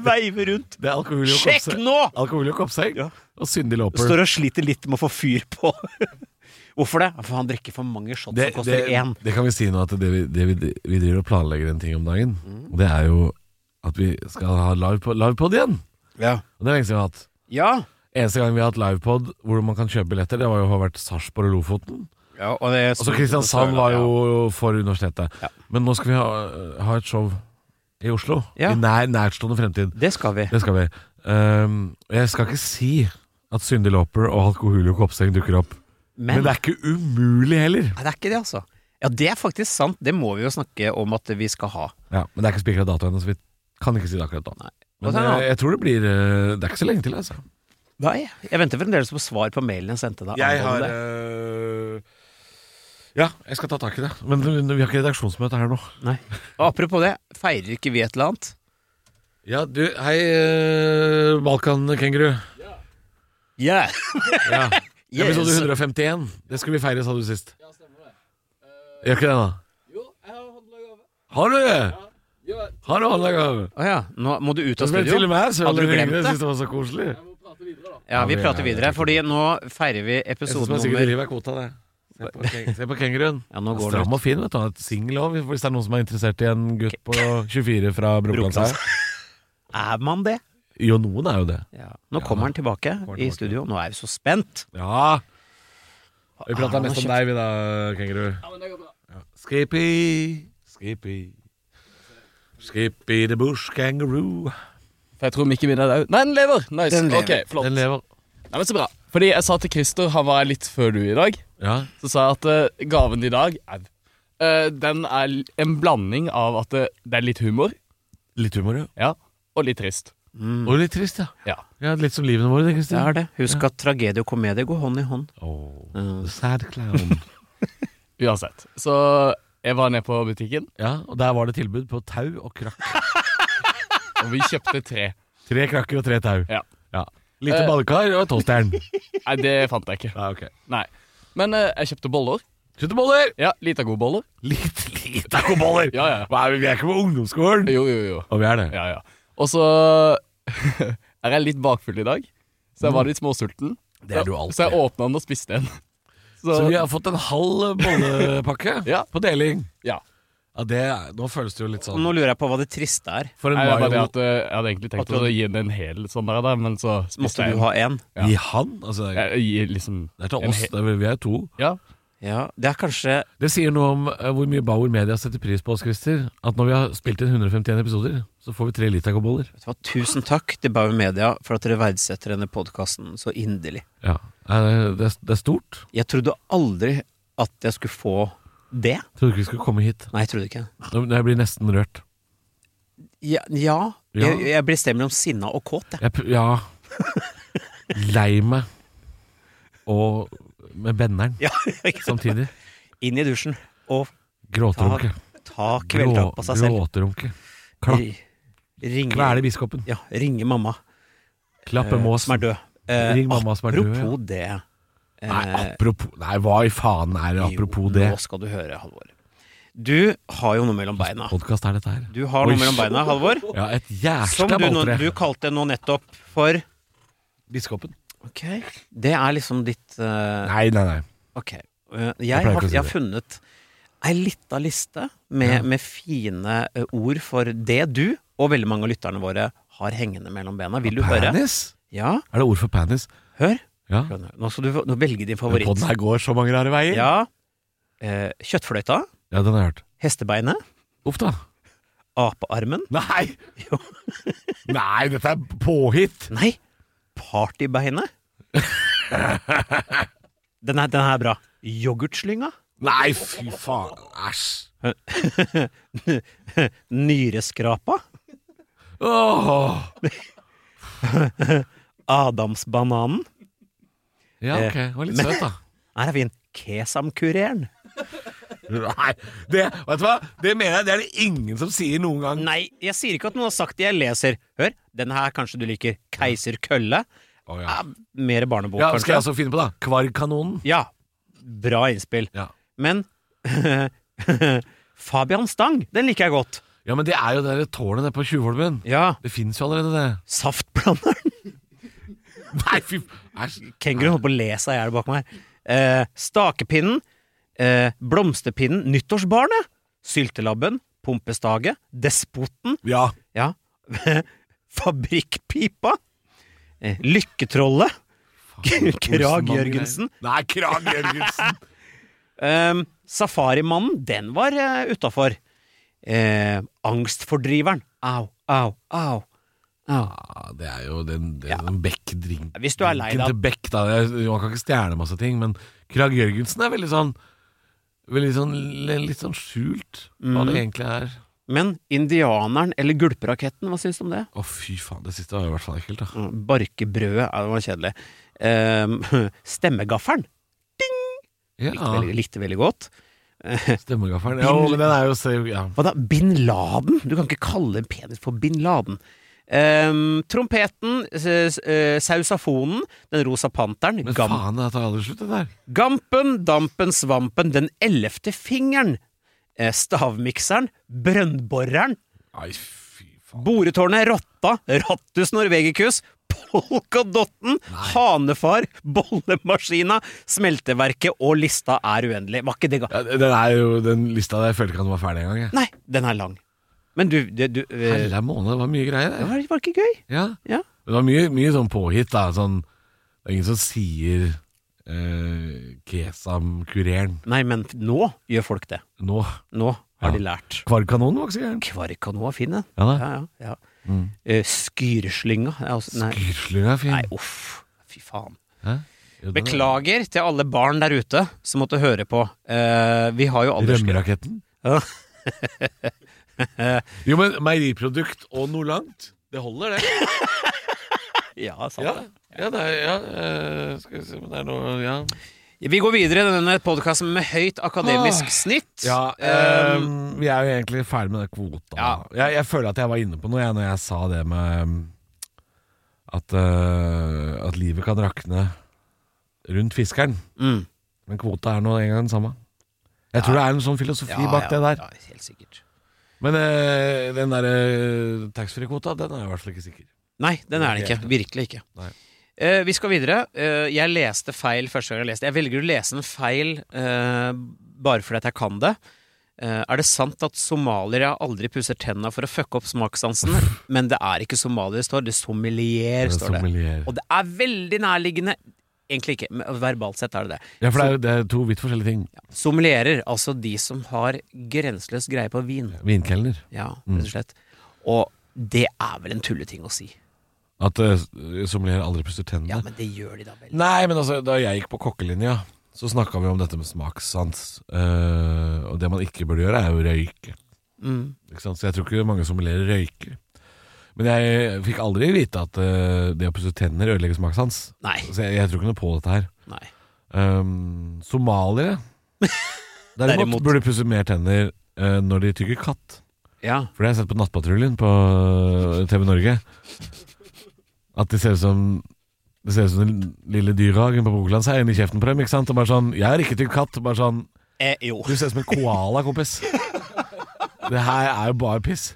Speaker 2: Veiver rundt.
Speaker 3: Det er Alkoholio
Speaker 2: Sjekk nå!
Speaker 3: Alkoholio Kopseng
Speaker 2: Ja.
Speaker 3: og Syndig Lauper.
Speaker 2: Står og sliter litt med å få fyr på. Hvorfor det? For han drikker for mange shots
Speaker 3: det,
Speaker 2: som koster
Speaker 3: det-
Speaker 2: én.
Speaker 3: Det kan vi si nå at det vi, det vi, vi driver og planlegger en ting om dagen,
Speaker 2: Mm.
Speaker 3: det er jo at vi skal ha livepod livepod igjen.
Speaker 2: Ja.
Speaker 3: Og det er lenge siden vi har hatt.
Speaker 2: ja.
Speaker 3: Eneste gang vi har hatt livepod hvor man kan kjøpe billetter, det var jo har vært Sarpsborg og Lofoten.
Speaker 2: og det
Speaker 3: Og så Kristiansand var jo for universitetet.
Speaker 2: Ja.
Speaker 3: Men nå skal vi ha, ha et show i Oslo.
Speaker 2: Ja.
Speaker 3: I nær, nærstående fremtid.
Speaker 2: Det skal vi.
Speaker 3: Det skal vi. Ehm, og jeg skal ikke si at Syndig Lauper og Alkoholio Kopseng dukker opp. Men
Speaker 2: Men
Speaker 3: det er ikke umulig heller.
Speaker 2: Nei, det er ikke det, altså. Ja, det er faktisk sant. Det må vi jo snakke om at vi skal ha.
Speaker 3: Ja, men det er ikke spikra dato ennå, så vi kan ikke si det akkurat da.
Speaker 2: Nei. Og
Speaker 3: Men
Speaker 2: så er det
Speaker 3: eh, jeg tror det blir eh, Det er ikke så lenge til, altså.
Speaker 2: Nei, jeg venter fremdeles på svar på mailen jeg sendte deg. angående det.
Speaker 3: eh, Ja, jeg skal ta tak i det. Men vi har ikke redaksjonsmøte her nå.
Speaker 2: Nei. Og apropos det, feirer ikke vi et eller annet?
Speaker 3: Ja, du, hei eh, Balkan-kenguru.
Speaker 2: Ja.
Speaker 3: Ja.
Speaker 2: Yes.
Speaker 3: Episode 151. Det skulle vi feire, sa du sist. Ja, stemmer det. Gjør ikke det, da? Jo, jeg har håndlaga over. Har du? Har du håndlaga over?
Speaker 2: Å ja, nå må du ut
Speaker 3: Det
Speaker 2: av
Speaker 3: ble til
Speaker 2: studio.
Speaker 3: og med her, så
Speaker 2: Hadde du
Speaker 3: jeg
Speaker 2: glemt
Speaker 3: ringte,
Speaker 2: det?
Speaker 3: syntes det var så koselig.
Speaker 2: Ja, vi
Speaker 3: Ja, vi-
Speaker 2: prater
Speaker 3: ja, vi-
Speaker 2: videre, fordi nå feirer vi
Speaker 3: Jeg synes
Speaker 2: episode
Speaker 3: man sikkert
Speaker 2: nummer
Speaker 3: driver med kvota, det. Se på keng- Se på kenguruen.
Speaker 2: Ja, nå går det
Speaker 3: Stram og fin, vet du. Han er Singel òg, hvis det er noen som er interessert i en gutt på 24 fra Brokelandsheia.
Speaker 2: Er man det?
Speaker 3: Jo, noen er jo det.
Speaker 2: Ja. Nå kommer han tilbake
Speaker 3: Kommer
Speaker 2: i
Speaker 3: tilbake.
Speaker 2: studio. Nå er vi så spent.
Speaker 3: Ja! Vi
Speaker 2: Ah,
Speaker 3: prater
Speaker 2: nå
Speaker 3: mest om
Speaker 2: kjøpte-
Speaker 3: deg, vi da, kenguru. Ja, men det går bra. Skippy, skippy. Skippy the bush kangaroo.
Speaker 4: For jeg tror mikken min er der. Nei, den lever! Nice.
Speaker 2: Den lever.
Speaker 4: Ok, flott.
Speaker 3: Den lever.
Speaker 4: Nei, men så bra. Fordi jeg sa til Christer, han var her litt før du i dag,
Speaker 3: Ja.
Speaker 4: så sa jeg at eh, gaven i dag au, eh, Den er l- en blanding av at det, det er litt humor
Speaker 3: Litt humor, ja.
Speaker 4: ja, og litt trist.
Speaker 3: Og litt trist, ja.
Speaker 4: Ja.
Speaker 3: ja litt som livene våre, det,
Speaker 2: Mm. Det
Speaker 3: Kristin.
Speaker 2: er det. Husk at tragedie og komedie går hånd i hånd.
Speaker 3: Åh, the sad clown.
Speaker 4: Uansett. Så jeg var nede på butikken,
Speaker 3: ja, og der var det tilbud på tau og krakk.
Speaker 4: og vi kjøpte tre.
Speaker 3: Tre krakker og tre tau.
Speaker 4: Ja.
Speaker 3: Ja. Lite
Speaker 4: Eh.
Speaker 3: badekar og et toastjern.
Speaker 4: Nei, det fant jeg ikke.
Speaker 3: ja, ok.
Speaker 4: Nei. Men eh, jeg kjøpte boller.
Speaker 3: Skyteboller!
Speaker 4: Ja, Lita gode boller.
Speaker 3: Litt, litt tacoboller.
Speaker 4: Ja, ja.
Speaker 3: Hva er vi? vi er ikke på ungdomsskolen.
Speaker 4: Jo, jo, jo.
Speaker 3: Og vi er det.
Speaker 4: Ja, ja. Og så er jeg litt bakfull i dag, så jeg var litt småsulten.
Speaker 3: Mm. Det er du alltid.
Speaker 4: Så jeg åpna den og spiste en. Så,
Speaker 3: Så vi har fått en halv bollepakke
Speaker 4: Ja.
Speaker 3: på deling.
Speaker 4: ja.
Speaker 3: Ja, det, er- nå føles det jo litt
Speaker 2: Og
Speaker 3: sånn
Speaker 2: nå lurer jeg på hva det triste er.
Speaker 3: For en
Speaker 4: Nei, det var det
Speaker 3: mayo
Speaker 4: at eh, jeg hadde egentlig tenkt å gi den en hel sånn der, da, men så spiste
Speaker 2: Måtte
Speaker 4: jeg
Speaker 2: du
Speaker 4: en.
Speaker 2: ha en?
Speaker 4: ja.
Speaker 3: i han altså, det, er,
Speaker 4: Jeg gir liksom
Speaker 3: det er til
Speaker 4: en
Speaker 3: oss,
Speaker 4: hel-
Speaker 3: det er, vi er to.
Speaker 4: Ja.
Speaker 2: Ja, det er kanskje
Speaker 3: Det sier noe om eh, hvor mye Bauer Media setter pris på oss, Christer. At når vi har spilt inn 151 episoder, så får vi tre litacoboller.
Speaker 2: Vet du hva, Tusen takk til Bauer Media for at dere verdsetter denne podkasten så inderlig.
Speaker 3: Ja. Eh, Det, er- det er stort.
Speaker 2: Jeg trodde aldri at jeg skulle få det.
Speaker 3: Trodde ikke vi skulle komme hit.
Speaker 2: Nei, jeg trodde ikke det.
Speaker 3: Nå- Jeg blir nesten rørt.
Speaker 2: Ja, ja,
Speaker 3: Ja.
Speaker 2: Jeg, jeg blir stemt mellom sinna og kåt, jeg.
Speaker 3: Jeg, pr- ja. Lei meg. Og med benderen
Speaker 2: Ja.
Speaker 3: samtidig.
Speaker 2: Inn i dusjen og
Speaker 3: Gråterunke.
Speaker 2: ta kveldstak
Speaker 3: Grå,
Speaker 2: på seg selv.
Speaker 3: gråterunke. Klapp.
Speaker 2: Ri- Ringe,
Speaker 3: Kvele biskopen.
Speaker 2: ja, ringe mamma
Speaker 3: Klappe
Speaker 2: eh,
Speaker 3: mås.
Speaker 2: som er død. Eh,
Speaker 3: Ring mamma som er død, ja.
Speaker 2: Apropos det. eh,
Speaker 3: Nei, apropos Nei, hva i faen er det apropos
Speaker 2: jo,
Speaker 3: det?
Speaker 2: Nå skal du høre, Halvor. Du har jo noe mellom beina.
Speaker 3: Podkast er dette her.
Speaker 2: Du har noe
Speaker 3: Oi,
Speaker 2: mellom beina, Halvor.
Speaker 3: Ja, et
Speaker 2: Som
Speaker 3: jævla
Speaker 2: du, nå,
Speaker 3: balltre.
Speaker 2: du kalte nå nettopp for
Speaker 3: Biskopen.
Speaker 2: Ok, det er liksom ditt eh,
Speaker 3: Nei, nei, nei.
Speaker 2: Ok, Eh,
Speaker 3: Jeg
Speaker 2: jeg, har,
Speaker 3: pleier ikke å si
Speaker 2: jeg har
Speaker 3: det.
Speaker 2: funnet ei lita liste med,
Speaker 3: Ja.
Speaker 2: med fine eh, ord for det du og veldig mange av lytterne våre har hengende mellom bena. Vil du høre?
Speaker 3: Panis?
Speaker 2: Ja,
Speaker 3: Er det ord for panis?
Speaker 2: hør.
Speaker 3: Ja.
Speaker 2: Nå skal du få- nå velge din
Speaker 3: Den
Speaker 2: favoritt.
Speaker 3: podden her går så mange rare veier.
Speaker 2: Ja. Eh, kjøttfløyta,
Speaker 3: Ja, den har jeg hørt.
Speaker 2: hestebeinet,
Speaker 3: Uff da.
Speaker 2: apearmen
Speaker 3: Nei!
Speaker 2: Jo.
Speaker 3: nei, dette er påhit!
Speaker 2: Nei, partybeinet. Den er, den er bra. Yoghurtslynga.
Speaker 3: Nei, fy faen. Æsj.
Speaker 2: Nyreskrapa.
Speaker 3: Åh.
Speaker 2: Adamsbananen.
Speaker 3: Ja, ok. Det var litt søt, da.
Speaker 2: Her er fin. Kesamkureren.
Speaker 3: Nei, det, vet du hva? Det mener jeg det er det ingen som sier noen gang.
Speaker 2: Nei, jeg sier ikke at noen har sagt det. Jeg leser. Hør, den her kanskje du liker. Keiser Kølle.
Speaker 3: Å,
Speaker 2: Ja,
Speaker 3: ja.
Speaker 2: mer barnebok,
Speaker 3: ja, skal
Speaker 2: kanskje.
Speaker 3: jeg også finne på, da? Kvargkanonen?
Speaker 2: Ja. Bra innspill.
Speaker 3: Ja.
Speaker 2: Men Fabian Stang, den liker jeg godt.
Speaker 3: ja, men det er jo det der tårnet nede på Tjuvholmen.
Speaker 2: Ja.
Speaker 3: Det fins jo allerede, det.
Speaker 2: Saftblanderen.
Speaker 3: Nei, fy Æsj.
Speaker 2: Kenguruen holder på å le seg i hjel bak meg. Eh, stakepinnen. Eh, blomsterpinnen. Nyttårsbarnet. Syltelabben. Pumpestaget. Despoten.
Speaker 3: Ja.
Speaker 2: Ja. Fabrikkpipa. Eh, Lykketrollet. Krag Jørgensen.
Speaker 3: Nei, Krag Jørgensen.
Speaker 2: Um, Safarimannen, den var uh, utafor. Eh, angstfordriveren. Au, au, au. au.
Speaker 3: Ja, det er jo den, det er den Beck-drinken
Speaker 2: Hvis du er lei deg-
Speaker 3: til Beck, da. Det er- Man kan ikke stjele masse ting, men Krag Jørgensen er veldig sånn Veldig sånn, litt sånn skjult, hva det egentlig er.
Speaker 2: Men indianeren eller gulperaketten, hva syns du om det?
Speaker 3: Å, fy faen. Det siste var i hvert fall ekkelt, da.
Speaker 2: Mm, Barkebrødet, ja, det var kjedelig. Um, stemmegaffelen likte,
Speaker 3: Ja,
Speaker 2: veldig, likte veldig godt.
Speaker 3: Stemmegaffelen. Ja, men den er jo så ja.
Speaker 2: Hva da? Bin Laden? Du kan ikke kalle en penis for Bin Laden. Ehm, trompeten, s- s- eh, sausafonen, den rosa panteren,
Speaker 3: Men
Speaker 2: gam
Speaker 3: faen, det tar aldri slutt, det der.
Speaker 2: gampen, dampen, svampen, den ellevte fingeren, eh, stavmikseren, brønnboreren,
Speaker 3: Nei, fy faen.
Speaker 2: boretårnet, rotta, rattus norvegicus, polkadotten, hanefar, bollemaskina, smelteverket og lista er uendelig. Var ikke det ga...
Speaker 3: Ja, den er jo Den lista der jeg følte ikke at den var ferdig engang, jeg.
Speaker 2: Nei, den er lang. Men du, det, du eh,
Speaker 3: Helle måned, det var mye greier
Speaker 2: det
Speaker 3: der.
Speaker 2: var, var ikke gøy?
Speaker 3: Ja.
Speaker 2: Ja.
Speaker 3: Det var mye, mye sånn påhitt, da. Sånn Det er ingen som sier eh, Kesam-kureren
Speaker 2: Nei, men nå gjør folk det.
Speaker 3: nå.
Speaker 2: Nå har
Speaker 3: Ja.
Speaker 2: de lært.
Speaker 3: Kvarkanonen var ikke så gæren.
Speaker 2: Kvarkanoa er fin, den.
Speaker 3: Ja da. Mm.
Speaker 2: Ja, ja, ja. Eh, Skyreslynga er også Nei,
Speaker 3: Gyslinga er fin.
Speaker 2: nei uff. Fy faen.
Speaker 3: Hæ? Jo, den er-
Speaker 2: Beklager til alle barn der ute som måtte høre på. Eh, vi har jo aldersgrense.
Speaker 3: Rømmeraketten.
Speaker 2: Ja.
Speaker 3: jo, men meieriprodukt og noe langt, det holder, det.
Speaker 2: Ja, sant
Speaker 3: Ja,
Speaker 2: det.
Speaker 3: ja, det er, ja eh, Skal vi se om det er noe Ja,
Speaker 2: Vi går videre i denne podkasten med høyt akademisk
Speaker 3: Ah.
Speaker 2: snitt.
Speaker 3: eh,
Speaker 2: Eh,
Speaker 3: Vi er jo egentlig ferdig med den kvota.
Speaker 2: Ja.
Speaker 3: Jeg, jeg føler at jeg var inne på noe jeg, når jeg sa det med um, at, eh, at livet kan rakne rundt fiskeren.
Speaker 2: mm.
Speaker 3: Men kvota er nå en gang den samme. Jeg tror det er en sånn filosofi bak det der.
Speaker 2: Ja, helt sikkert.
Speaker 3: Men eh, den derre uh, taxfree-kvota, den er jeg i hvert fall ikke sikker.
Speaker 2: Nei, den er den ikke. Virkelig ikke.
Speaker 3: Nei.
Speaker 2: Eh, vi skal videre. Eh, jeg leste feil første gang jeg leste. Jeg velger å lese en feil eh, bare fordi at jeg kan det. Eh, er det sant at somaliere aldri pusser tenna for å fucke opp smakssansen? Men det er ikke somalier det står, det er sommelier står det.
Speaker 3: Eh, Sommelier.
Speaker 2: Og det er veldig nærliggende. Egentlig ikke, men verbalt sett er det det.
Speaker 3: Ja, for det er, jo- det er to vidt forskjellige ting.
Speaker 2: Sommelierer, altså de som har grenseløs greie på vin.
Speaker 3: Vinkelner.
Speaker 2: Ja, Mm. rett og slett. Og det er vel en tulleting å si.
Speaker 3: At uh, sommelier aldri pusser tennene.
Speaker 2: Ja, men det gjør de da vel.
Speaker 3: Nei, men altså, da jeg gikk på kokkelinja, så snakka vi om dette med smakssans. Eh, og det man ikke burde gjøre, er jo å røyke.
Speaker 2: Mm.
Speaker 3: Ikke sant? Så jeg tror ikke mange sommelierer røyker. Men jeg fikk aldri vite at eh, det å pusse tenner ødelegger smakssans.
Speaker 2: Nei.
Speaker 3: Så jeg, jeg tror ikke noe på dette her.
Speaker 2: Nei.
Speaker 3: Um, somaliere derimot,
Speaker 2: Derimot.
Speaker 3: burde pusse mer tenner eh, når de tygger katt.
Speaker 2: Ja.
Speaker 3: For det har jeg sett på Nattpatruljen på eh, TV Norge. At det ser ut som Det ser ut som den lille dyrehagen på Rogaland seg inni kjeften på dem. ikke sant? Og bare sånn, Jeg har ikke tygd katt. og Bare sånn
Speaker 2: Eh, jo.
Speaker 3: Du ser ut som en koala, kompis. Det her er jo bare piss.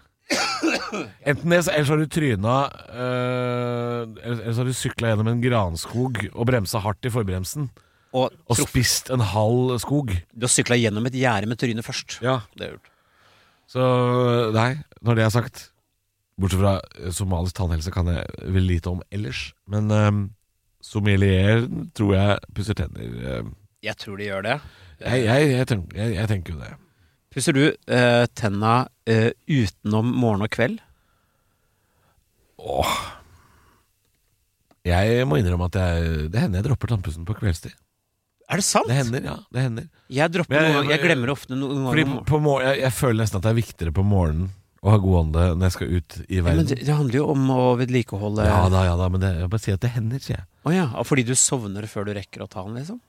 Speaker 3: Enten det, så- eller så har du tryna eh, Eller eller så har du sykla gjennom en granskog og bremsa hardt i forbremsen.
Speaker 2: Og,
Speaker 3: Og
Speaker 2: truff-
Speaker 3: spist en halv skog.
Speaker 2: du har sykla gjennom et gjerde med trynet først.
Speaker 3: Ja
Speaker 2: Det har du gjort.
Speaker 3: Så eh, nei, når det er sagt Bortsett fra eh, somalisk tannhelse kan jeg vel lite om ellers Men um, sommelier tror jeg pusser tenner eh.
Speaker 2: Jeg tror de gjør det.
Speaker 3: jeg, jeg, jeg, tenk, jeg, jeg tenker jo det
Speaker 2: Pusser du eh, tenna eh, utenom morgen og kveld?
Speaker 3: Åh Jeg må innrømme at jeg, det hender jeg dropper tannpussen på kveldstid.
Speaker 2: Er det sant?
Speaker 3: Det hender, ja. det hender
Speaker 2: Jeg dropper
Speaker 3: Men jeg-
Speaker 2: noen ganger. Jeg glemmer ofte noen noen
Speaker 3: Fordi
Speaker 2: ganger. om morgenen.
Speaker 3: på, på mor- jeg, jeg føler nesten at det er viktigere på morgenen å ha god ånde når jeg skal ut i
Speaker 2: Ja, men
Speaker 3: verden.
Speaker 2: det, det handler jo om å vedlikeholde
Speaker 3: Ja da, ja da, men det, jeg bare sier at det hender, sier jeg.
Speaker 2: Å ja, Fordi du sovner før du rekker å ta den, liksom?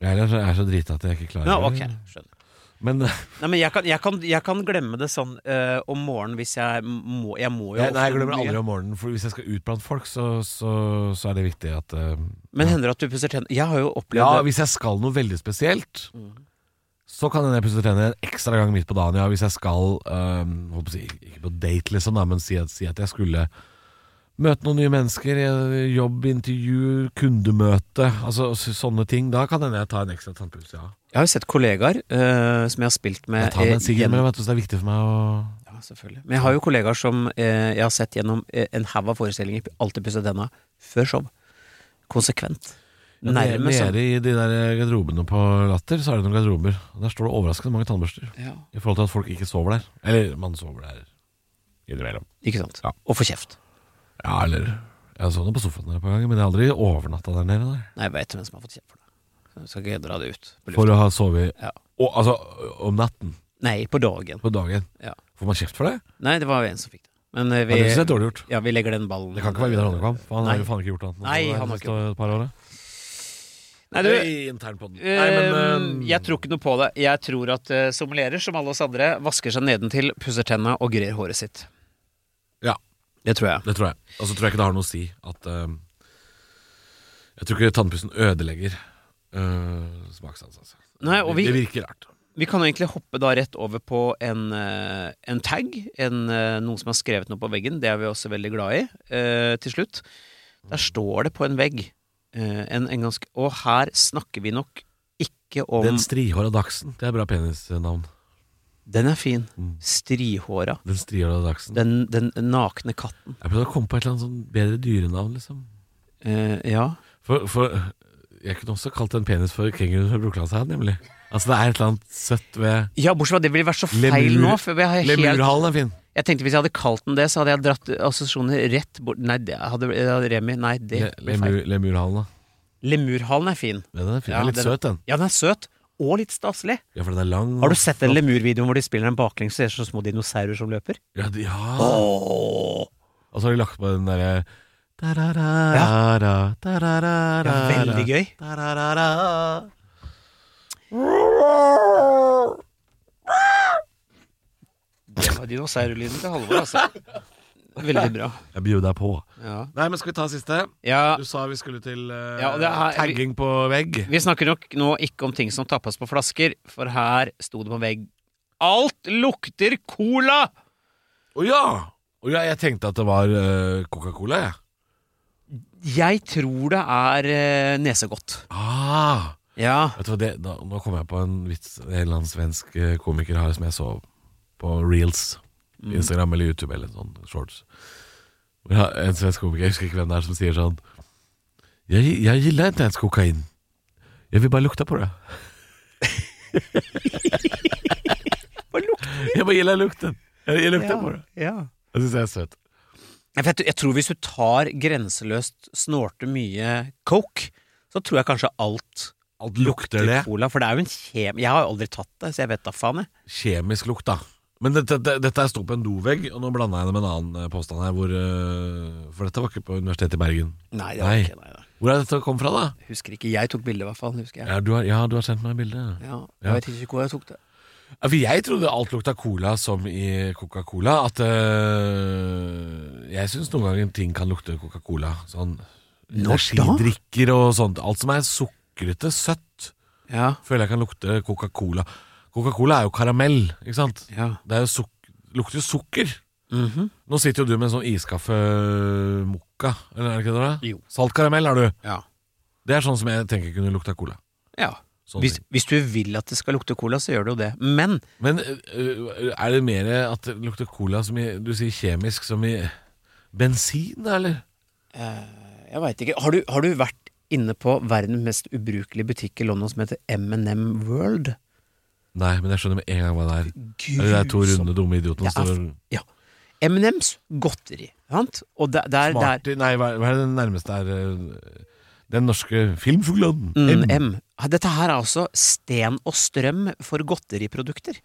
Speaker 3: Jeg er så, jeg er så drita at jeg ikke klarer
Speaker 2: Ja, ok,
Speaker 3: det.
Speaker 2: skjønner
Speaker 3: Men
Speaker 2: Nei, men jeg kan, jeg, kan, jeg kan glemme det sånn eh, om morgenen hvis jeg må Jeg må jo
Speaker 3: jeg, nei, jeg
Speaker 2: ofte
Speaker 3: glemmer
Speaker 2: mye.
Speaker 3: aldri om morgenen, for hvis jeg skal ut blant folk, så, så, så er det viktig at eh,
Speaker 2: Men hender det at du pusser tennene? Jeg har jo opplevd
Speaker 3: Ja,
Speaker 2: det.
Speaker 3: hvis jeg skal noe veldig spesielt,
Speaker 2: Mm.
Speaker 3: så kan hende jeg pusse tennene en ekstra gang midt på dagen. Ja, hvis jeg skal eh, holdt på å si, Ikke på date, liksom, da, men si at, si at jeg skulle møte noen nye mennesker, eh, jobb, intervju, kundemøte, altså så- sånne ting. Da kan hende jeg ta en ekstra tannpuss, ja.
Speaker 2: Jeg har jo sett kollegaer eh, som jeg har spilt med
Speaker 3: Jeg tar meg
Speaker 2: eh,
Speaker 3: en sigar,
Speaker 2: gjennom-
Speaker 3: men vet du, så det er viktig for meg å
Speaker 2: Ja, selvfølgelig. Men jeg har jo kollegaer som eh, jeg har sett gjennom eh, en haug av forestillinger alltid pusset tenna før show. Konsekvent. Nærmest sånn.
Speaker 3: Nede i de der garderobene på Latter, så er det noen garderober. Og Der står det overraskende mange tannbørster.
Speaker 2: Ja.
Speaker 3: I forhold til at folk ikke sover der. Eller man sover der innimellom.
Speaker 2: Ikke sant.
Speaker 3: Ja.
Speaker 2: Og får kjeft.
Speaker 3: Ja, eller Jeg sovna på sofaen der på gangen, men jeg har aldri overnatta der nede. Der.
Speaker 2: Nei, jeg veit hvem som har fått kjeft for det. Så jeg skal ikke dra det ut. På
Speaker 3: For
Speaker 2: lufta.
Speaker 3: å ha sovet
Speaker 2: Ja.
Speaker 3: og, Altså, om natten.
Speaker 2: Nei, på dagen.
Speaker 3: På dagen.
Speaker 2: Ja.
Speaker 3: Får man kjeft for det?
Speaker 2: Nei, det var en som fikk det. Men eh,
Speaker 3: Ja,
Speaker 2: vi,
Speaker 3: det synes jeg er dårlig gjort.
Speaker 2: ja, vi legger den ballen Eh,
Speaker 3: Det kan ikke være Vidar Hannekvam, for han
Speaker 2: Nei.
Speaker 3: har jo faen ikke gjort annet. enn å
Speaker 2: Nei,
Speaker 3: sove
Speaker 2: han
Speaker 3: der
Speaker 2: har
Speaker 3: de
Speaker 2: ikke
Speaker 3: siste par årene.
Speaker 2: Nei, du,
Speaker 3: Nei, intern på den. Nei,
Speaker 2: Ehm,
Speaker 3: men, eh,
Speaker 2: jeg tror ikke noe på det. Jeg tror at uh, sommelierer, som alle oss andre, vasker seg nedentil, pusser tenna og grer håret sitt.
Speaker 3: Ja.
Speaker 2: Det tror jeg.
Speaker 3: Det tror jeg. Og så tror jeg ikke det har noe å si at ehm, Jeg tror ikke tannpussen ødelegger uh, smakssans. Altså.
Speaker 2: Nei, og vi-
Speaker 3: Det virker rart.
Speaker 2: Vi kan jo egentlig hoppe da rett over på en, eh, en tag. En, eh, noen som har skrevet noe på veggen. Det er vi også veldig glad i. eh, til slutt. Der står det på en vegg eh, en, en ganske Og her snakker vi nok ikke om
Speaker 3: Den strihåra dachsen. Det er bra penisnavn.
Speaker 2: Den er fin.
Speaker 3: Mm.
Speaker 2: Strihåra.
Speaker 3: Den strihåra dachsen.
Speaker 2: Den, den nakne katten.
Speaker 3: Jeg prøvde å komme på et eller annet sånn bedre dyrenavn, liksom.
Speaker 2: Eh, ja.
Speaker 3: For, for jeg kunne også kalt en penis for kenguruen fra Brokelandsheien, nemlig. Altså, det er et eller annet søtt ved
Speaker 2: ja, bortsett fra at det ville vært så feil
Speaker 3: Lemur-
Speaker 2: nå. For vi har helt
Speaker 3: Lemurhalen er fin.
Speaker 2: Jeg tenkte hvis jeg hadde kalt den det, så hadde jeg dratt assosiasjoner rett bort Nei, det hadde, jeg hadde Remi, nei, det
Speaker 3: Le,
Speaker 2: blir feil.
Speaker 3: lemur, lemurhalen, da.
Speaker 2: Lemurhalen er fin.
Speaker 3: Ja, Den er fin.
Speaker 2: Ja,
Speaker 3: den er litt
Speaker 2: den-
Speaker 3: søt, den.
Speaker 2: Ja, den er søt. Og litt staselig.
Speaker 3: Ja, for den er lang.
Speaker 2: Har du sett den lemurvideoen hvor de spiller en baklengs og ser så små dinosaurer som løper?
Speaker 3: Ja, de- ja.
Speaker 2: Åh
Speaker 3: Og så har de lagt på den derre
Speaker 2: Ja, veldig gøy. Det var dinosaurlyden til Halvor, altså. Veldig bra.
Speaker 3: Jeg bjuder deg på.
Speaker 2: Ja,
Speaker 3: Nei, men skal vi ta siste?
Speaker 2: ja
Speaker 3: Du sa vi skulle til eh,
Speaker 2: Ja, og det er-
Speaker 3: tagging på vegg.
Speaker 2: vi snakker nok nå ikke om ting som tappes på flasker, for her sto det på en vegg Alt lukter cola!
Speaker 3: Å ja! Å ja! Jeg tenkte at det var eh, Coca-Cola, jeg.
Speaker 2: Jeg tror det er eh, nesegodt.
Speaker 3: Ah,
Speaker 2: Ja.
Speaker 3: vet du hva, det, da, nå kom jeg på en vits en eller annen svensk eh, komiker har som jeg så på reels.
Speaker 2: Mm.
Speaker 3: Instagram eller YouTube eller sånn shorts. Hvor ha- En svensk komiker, jeg husker ikke hvem det er, som sier sånn Jeg, jeg gillar ikke ens kokain. Jeg vil bare lukte på det.
Speaker 2: Bare lukt.
Speaker 3: Jeg bare gillar lukten. Jeg, jeg lukter på det.
Speaker 2: ja.
Speaker 3: Jeg syns det er søt.
Speaker 2: Jeg, vet, jeg tror hvis du tar grenseløst snorter mye coke, så tror jeg kanskje alt
Speaker 3: Alt lukter
Speaker 2: til
Speaker 3: det.
Speaker 2: cola. For det er jo en kjem... Jeg har jo aldri tatt det, så jeg vet da faen, jeg.
Speaker 3: Kjemisk lukt, da. Men dette, dette, dette her sto på en dovegg, og nå blanda jeg det med en annen eh, påstand her. Hvor, eh, for dette var ikke på Universitetet i Bergen.
Speaker 2: Nei,
Speaker 3: det var Nei. ikke-
Speaker 2: nei, nei.
Speaker 3: Hvor er dette kom fra, da?
Speaker 2: Husker ikke. Jeg tok bilde, i hvert fall. Husker jeg.
Speaker 3: Ja, du har, ja, du har sendt meg bildet.
Speaker 2: Ja,
Speaker 3: Ja.
Speaker 2: jeg vet ikke hvor jeg tok det.
Speaker 3: Ja, for jeg trodde alt lukta cola som i Coca-Cola. At øh, Jeg syns noen ganger ting kan lukte Coca-Cola. Sånn
Speaker 2: Når da?
Speaker 3: energidrikker og sånt. Alt som er sukkerete søtt,
Speaker 2: Ja,
Speaker 3: føler jeg kan lukte Coca-Cola. Coca-Cola er jo karamell, ikke sant?
Speaker 2: ja.
Speaker 3: Det er jo suk lukter jo sukker.
Speaker 2: Mhm.
Speaker 3: Nå sitter jo du med en sånn iskaffe mokka, eller er det ikke det? da?
Speaker 2: Jo.
Speaker 3: Salt karamell er du.
Speaker 2: ja.
Speaker 3: Det er sånn som jeg tenker kunne lukta cola.
Speaker 2: ja.
Speaker 3: Sånne
Speaker 2: Hvis,
Speaker 3: ting.
Speaker 2: hvis du vil at det skal lukte cola, så gjør det jo det. Men
Speaker 3: Men øh, er det mer at det lukter cola som i Du sier kjemisk som i bensin, da, eller?
Speaker 2: jeg veit ikke. Har du, har du vært inne på verdens mest ubrukelige butikk i London som heter M&M World?
Speaker 3: Nei, men jeg skjønner med en gang hva det er.
Speaker 2: Gud,
Speaker 3: Eller det er to runde dumme idioter
Speaker 2: Det er
Speaker 3: som står
Speaker 2: Ja. M&M's godteri. Sant? Og der, der, der
Speaker 3: Smarty Nei, hva hva er det nærmeste er eh, Den norske filmfuglen?
Speaker 2: Mm,
Speaker 3: M.
Speaker 2: M. Ja, Dette her er altså sten og strøm for godteriprodukter.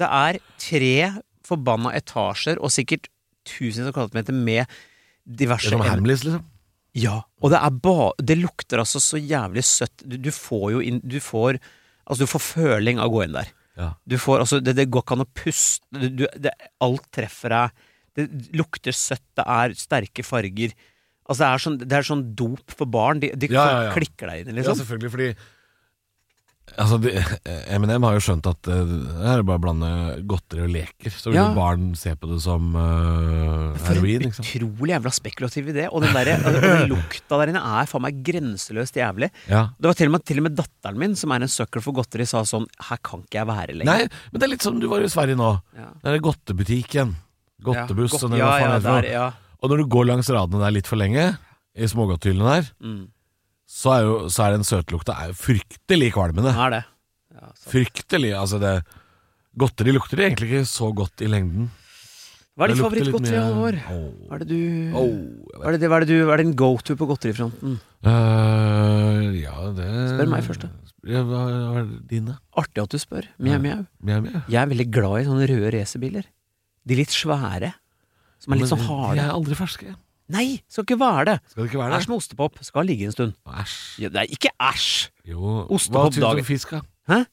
Speaker 2: Det er tre forbanna etasjer og sikkert tusenvis av kvadratmeter med
Speaker 3: Det
Speaker 2: diverse
Speaker 3: er som
Speaker 2: M-
Speaker 3: Hamleys, liksom.
Speaker 2: Ja, og det er ba Det lukter altså så jævlig søtt. Du, du får jo inn Du får Altså, du får føling av å gå inn der.
Speaker 3: Ja.
Speaker 2: Du får altså Det, det går ikke an å puste. Du, du, det, alt treffer deg. Det lukter søtt, det er sterke farger. Altså, det er sånn, det er sånn dop for barn. De, de
Speaker 3: Ja, ja, ja.
Speaker 2: klikker deg inn,
Speaker 3: Ja,
Speaker 2: liksom.
Speaker 3: selvfølgelig, fordi Altså, de, M&M har jo skjønt at eh, det er bare å blande godteri og leker. Så vil
Speaker 2: Ja.
Speaker 3: jo barn se på det som eh,
Speaker 2: For en
Speaker 3: heroin. Ikke sant?
Speaker 2: utrolig jævla spekulativ idé. Og den, der, og den lukta der inne er faen meg grenseløst jævlig.
Speaker 3: Ja.
Speaker 2: Det var til og med, til og med datteren min, som er en sucker for godteri, sa sånn Her kan ikke jeg være lenger.
Speaker 3: Nei, men det er litt som du var i Sverige nå.
Speaker 2: Ja.
Speaker 3: Det er godtebutikken. Godtebuss.
Speaker 2: Ja,
Speaker 3: og
Speaker 2: godt- ja,
Speaker 3: det sånn, hva faen
Speaker 2: ja,
Speaker 3: er det for noe.
Speaker 2: der, ja.
Speaker 3: Og når du går langs radene der litt for lenge, i smågodthyllene der,
Speaker 2: Mm.
Speaker 3: så er, jo, så er den søtlukta er jo fryktelig kvalmende.
Speaker 2: Er det. Ja, så-
Speaker 3: Fryktelig. Altså, det Godteri lukter egentlig ikke så godt i lengden.
Speaker 2: Hva er ditt
Speaker 3: Det lukter litt
Speaker 2: favorittgodteri av år?
Speaker 3: mye- Åh.
Speaker 2: Hva er det du
Speaker 3: Åh,
Speaker 2: hva, er det, hva, er det du, hva er din go to på godterifronten?
Speaker 3: Eh, ja, det
Speaker 2: Spør meg først, da.
Speaker 3: Ja, hva hva er dine?
Speaker 2: Artig at du spør. Mjau, mjau.
Speaker 3: Mjau, mjau.
Speaker 2: Jeg er veldig glad i sånne røde racerbiler. De litt svære. Som er litt
Speaker 3: Men
Speaker 2: sånn
Speaker 3: De
Speaker 2: harde.
Speaker 3: er aldri ferske.
Speaker 2: Nei, skal ikke være det!
Speaker 3: Skal det ikke være
Speaker 2: Æsj
Speaker 3: det?
Speaker 2: med ostepop. Skal ligge en stund.
Speaker 3: Æsj.
Speaker 2: Ja, det er ikke æsj!
Speaker 3: Jo,
Speaker 2: Ostepop
Speaker 3: Hva syns du
Speaker 2: dagen.
Speaker 3: om fisk, da?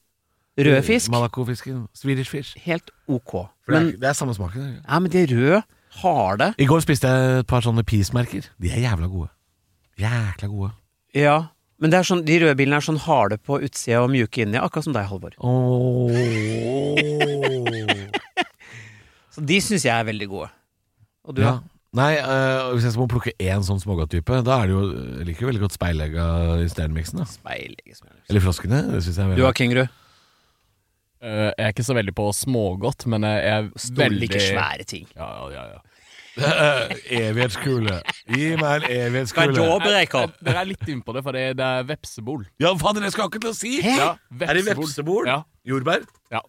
Speaker 2: Rød fisk,
Speaker 3: Malakofisken. Swedish fish.
Speaker 2: helt ok.
Speaker 3: For det,
Speaker 2: Men,
Speaker 3: er, det er samme smaken. det.
Speaker 2: ja, men de røde, harde
Speaker 3: I går spiste jeg et par sånne peace-merker. De er jævla gode. Jækla gode.
Speaker 2: Ja. Men det er sånn, de røde bilene er sånn harde på utsida og mjuke inni, akkurat som deg, Halvor.
Speaker 3: Oh.
Speaker 2: Så de syns jeg er veldig gode. Og du,
Speaker 3: ja.
Speaker 2: da?
Speaker 3: Nei, eh, hvis jeg må plukke én sånn smågodttype, da er det jo Jeg liker jo veldig godt speilegga i sternmiksen. da.
Speaker 2: Speil, ikke som jeg har lyst til.
Speaker 3: Eller froskene. Det synes jeg er
Speaker 2: Du
Speaker 3: veldig
Speaker 2: har kenguru.
Speaker 4: Eh, jeg er ikke så veldig på smågodt, men jeg er
Speaker 2: Store,
Speaker 4: veldig
Speaker 2: ikke svære ting.
Speaker 4: Ja, ja, ja, ja.
Speaker 3: Eh, Evighetskule. Gi meg en evighetskule.
Speaker 2: Garderobereker.
Speaker 4: Dere er litt innpå det, for det, det er vepsebol.
Speaker 3: Ja, fader, jeg skal ikke til å si!
Speaker 2: Hæ?
Speaker 4: Ja,
Speaker 3: Er det vepsebol?
Speaker 4: Ja.
Speaker 3: Jordbær?
Speaker 4: Ja.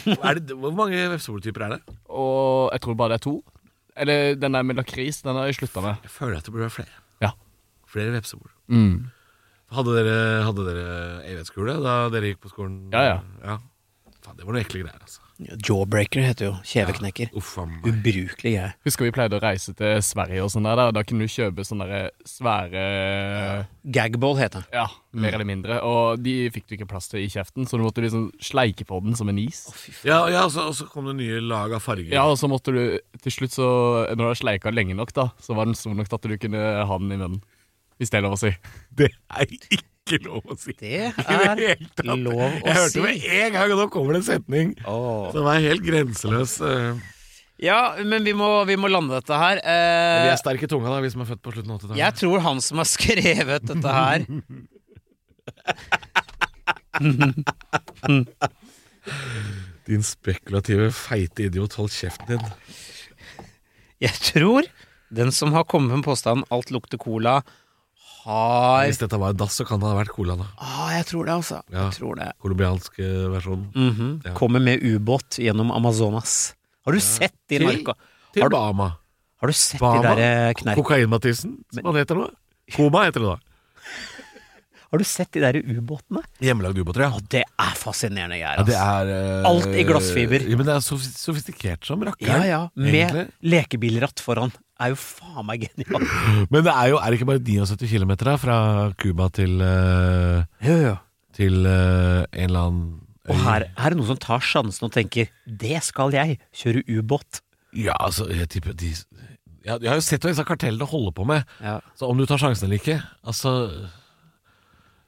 Speaker 3: Er det, hvor mange vepseboltyper er det?
Speaker 4: Og jeg tror bare det er to. Eller den der med lakris, den har jeg slutta med.
Speaker 3: Jeg føler at det burde være flere.
Speaker 4: Ja.
Speaker 3: Flere vepsebol. Hadde dere, hadde dere evighetskule da dere gikk på skolen?
Speaker 4: Ja, ja.
Speaker 3: Faen, det var noen ekle greier, altså.
Speaker 2: Jawbreaker heter jo. Kjeveknekker.
Speaker 3: Uff a meg.
Speaker 2: Ubrukelig greie.
Speaker 4: Husker vi pleide å reise til Sverige og sånn der, da, da kunne du kjøpe sånne der svære
Speaker 2: Gagball heter det.
Speaker 4: Ja, mer eller mindre. Og de fikk du ikke plass til i kjeften, så du måtte liksom sleike på den som en is.
Speaker 3: Ja, ja og så- og så kom det nye lag av farger.
Speaker 4: Ja, og så måtte du til slutt, så når du har sleika lenge nok, da, så var den stor nok til at du kunne ha den i munnen. Hvis det er lov å si.
Speaker 3: Det er ikke lov å si.
Speaker 2: Det
Speaker 3: I det
Speaker 2: er
Speaker 3: hele tatt.
Speaker 2: lov
Speaker 3: Jeg
Speaker 2: å
Speaker 3: hørte
Speaker 2: si.
Speaker 3: med en gang, og nå kommer det en setning
Speaker 2: Åh.
Speaker 3: som er helt grenseløs. eh.
Speaker 2: Ja, men vi må, vi må lande dette her.
Speaker 3: Vi
Speaker 2: Eh,
Speaker 3: er sterke i tunga, da, vi som er født på slutten av 80-tallet.
Speaker 2: jeg tror han som har skrevet dette her
Speaker 3: Din spekulative, feite idiot, hold kjeften din.
Speaker 2: Jeg tror den som har kommet med påstanden 'alt lukter cola', har
Speaker 3: Hvis dette var en dass, så kan det ha vært cola, da.
Speaker 2: ah, Jeg tror det, altså.
Speaker 3: Ja.
Speaker 2: Jeg tror det.
Speaker 3: Colombiansk eh, versjon.
Speaker 2: Mhm.
Speaker 3: Ja.
Speaker 2: Kommer med ubåt gjennom Amazonas. Har du sett de
Speaker 3: Til-
Speaker 2: narko...
Speaker 3: Til
Speaker 2: Har du-
Speaker 3: Bahama.
Speaker 2: Har du sett
Speaker 3: Bahama?
Speaker 2: de der eh, knerk...
Speaker 3: Kokain-Mathisen, som han heter nå. Koma heter det da.
Speaker 2: Har du sett de der ubåtene?
Speaker 3: Hjemmelagd ubåter, ja.
Speaker 2: Å, det er fascinerende greier,
Speaker 3: Ja, det
Speaker 2: altså.
Speaker 3: er eh,
Speaker 2: Alt i glassfiber.
Speaker 3: Ja, men det er sofis- sofistikert som rakkeren.
Speaker 2: Ja, ja. Med
Speaker 3: egentlig.
Speaker 2: lekebilratt foran. Er jo faen meg genialt.
Speaker 3: Men det er jo er det ikke bare 79 km fra Cuba til, eh,
Speaker 2: Ja, ja.
Speaker 3: til eh, en eller annen
Speaker 2: Og her, her er det noen som tar sjansen og tenker 'det skal jeg', kjøre ubåt.
Speaker 3: Ja, altså, jeg tipper de ja, Jeg har jo sett hva disse kartellene holder på med.
Speaker 2: Ja.
Speaker 3: Så om du tar sjansen eller ikke Altså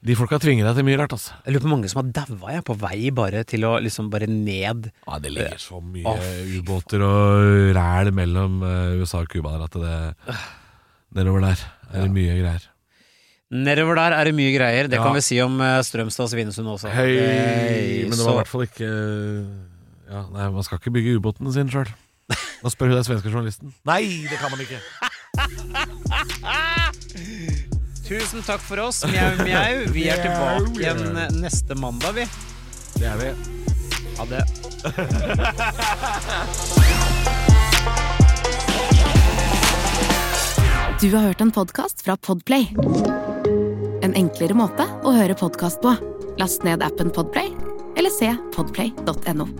Speaker 3: De folka tvinger deg til mye rart, altså.
Speaker 2: Jeg lurer på mange som har daua jeg, på vei bare til å liksom bare ned.
Speaker 3: Ja, det ligger så mye
Speaker 2: Å, fy
Speaker 3: ubåter og ræl mellom eh, USA og Cuba der at det Nedover der er det mye greier.
Speaker 2: Nedover der er det mye greier. Det
Speaker 3: Ja.
Speaker 2: kan vi si om eh, Strømstads Svinesund også.
Speaker 3: Hei, men det var i
Speaker 2: så-
Speaker 3: hvert fall ikke ja, Nei, man skal ikke bygge ubåten sin sjøl. Nå spør hun den svenske journalisten. Nei, det kan man ikke!
Speaker 2: Tusen takk for oss. Mjau, mjau. Vi er tilbake igjen eh, neste mandag, vi.
Speaker 3: Det er det.
Speaker 2: Ha det.
Speaker 1: Du har hørt en podkast fra Podplay. En enklere måte å høre podkast på. Last ned appen Podplay, eller se podplay.no.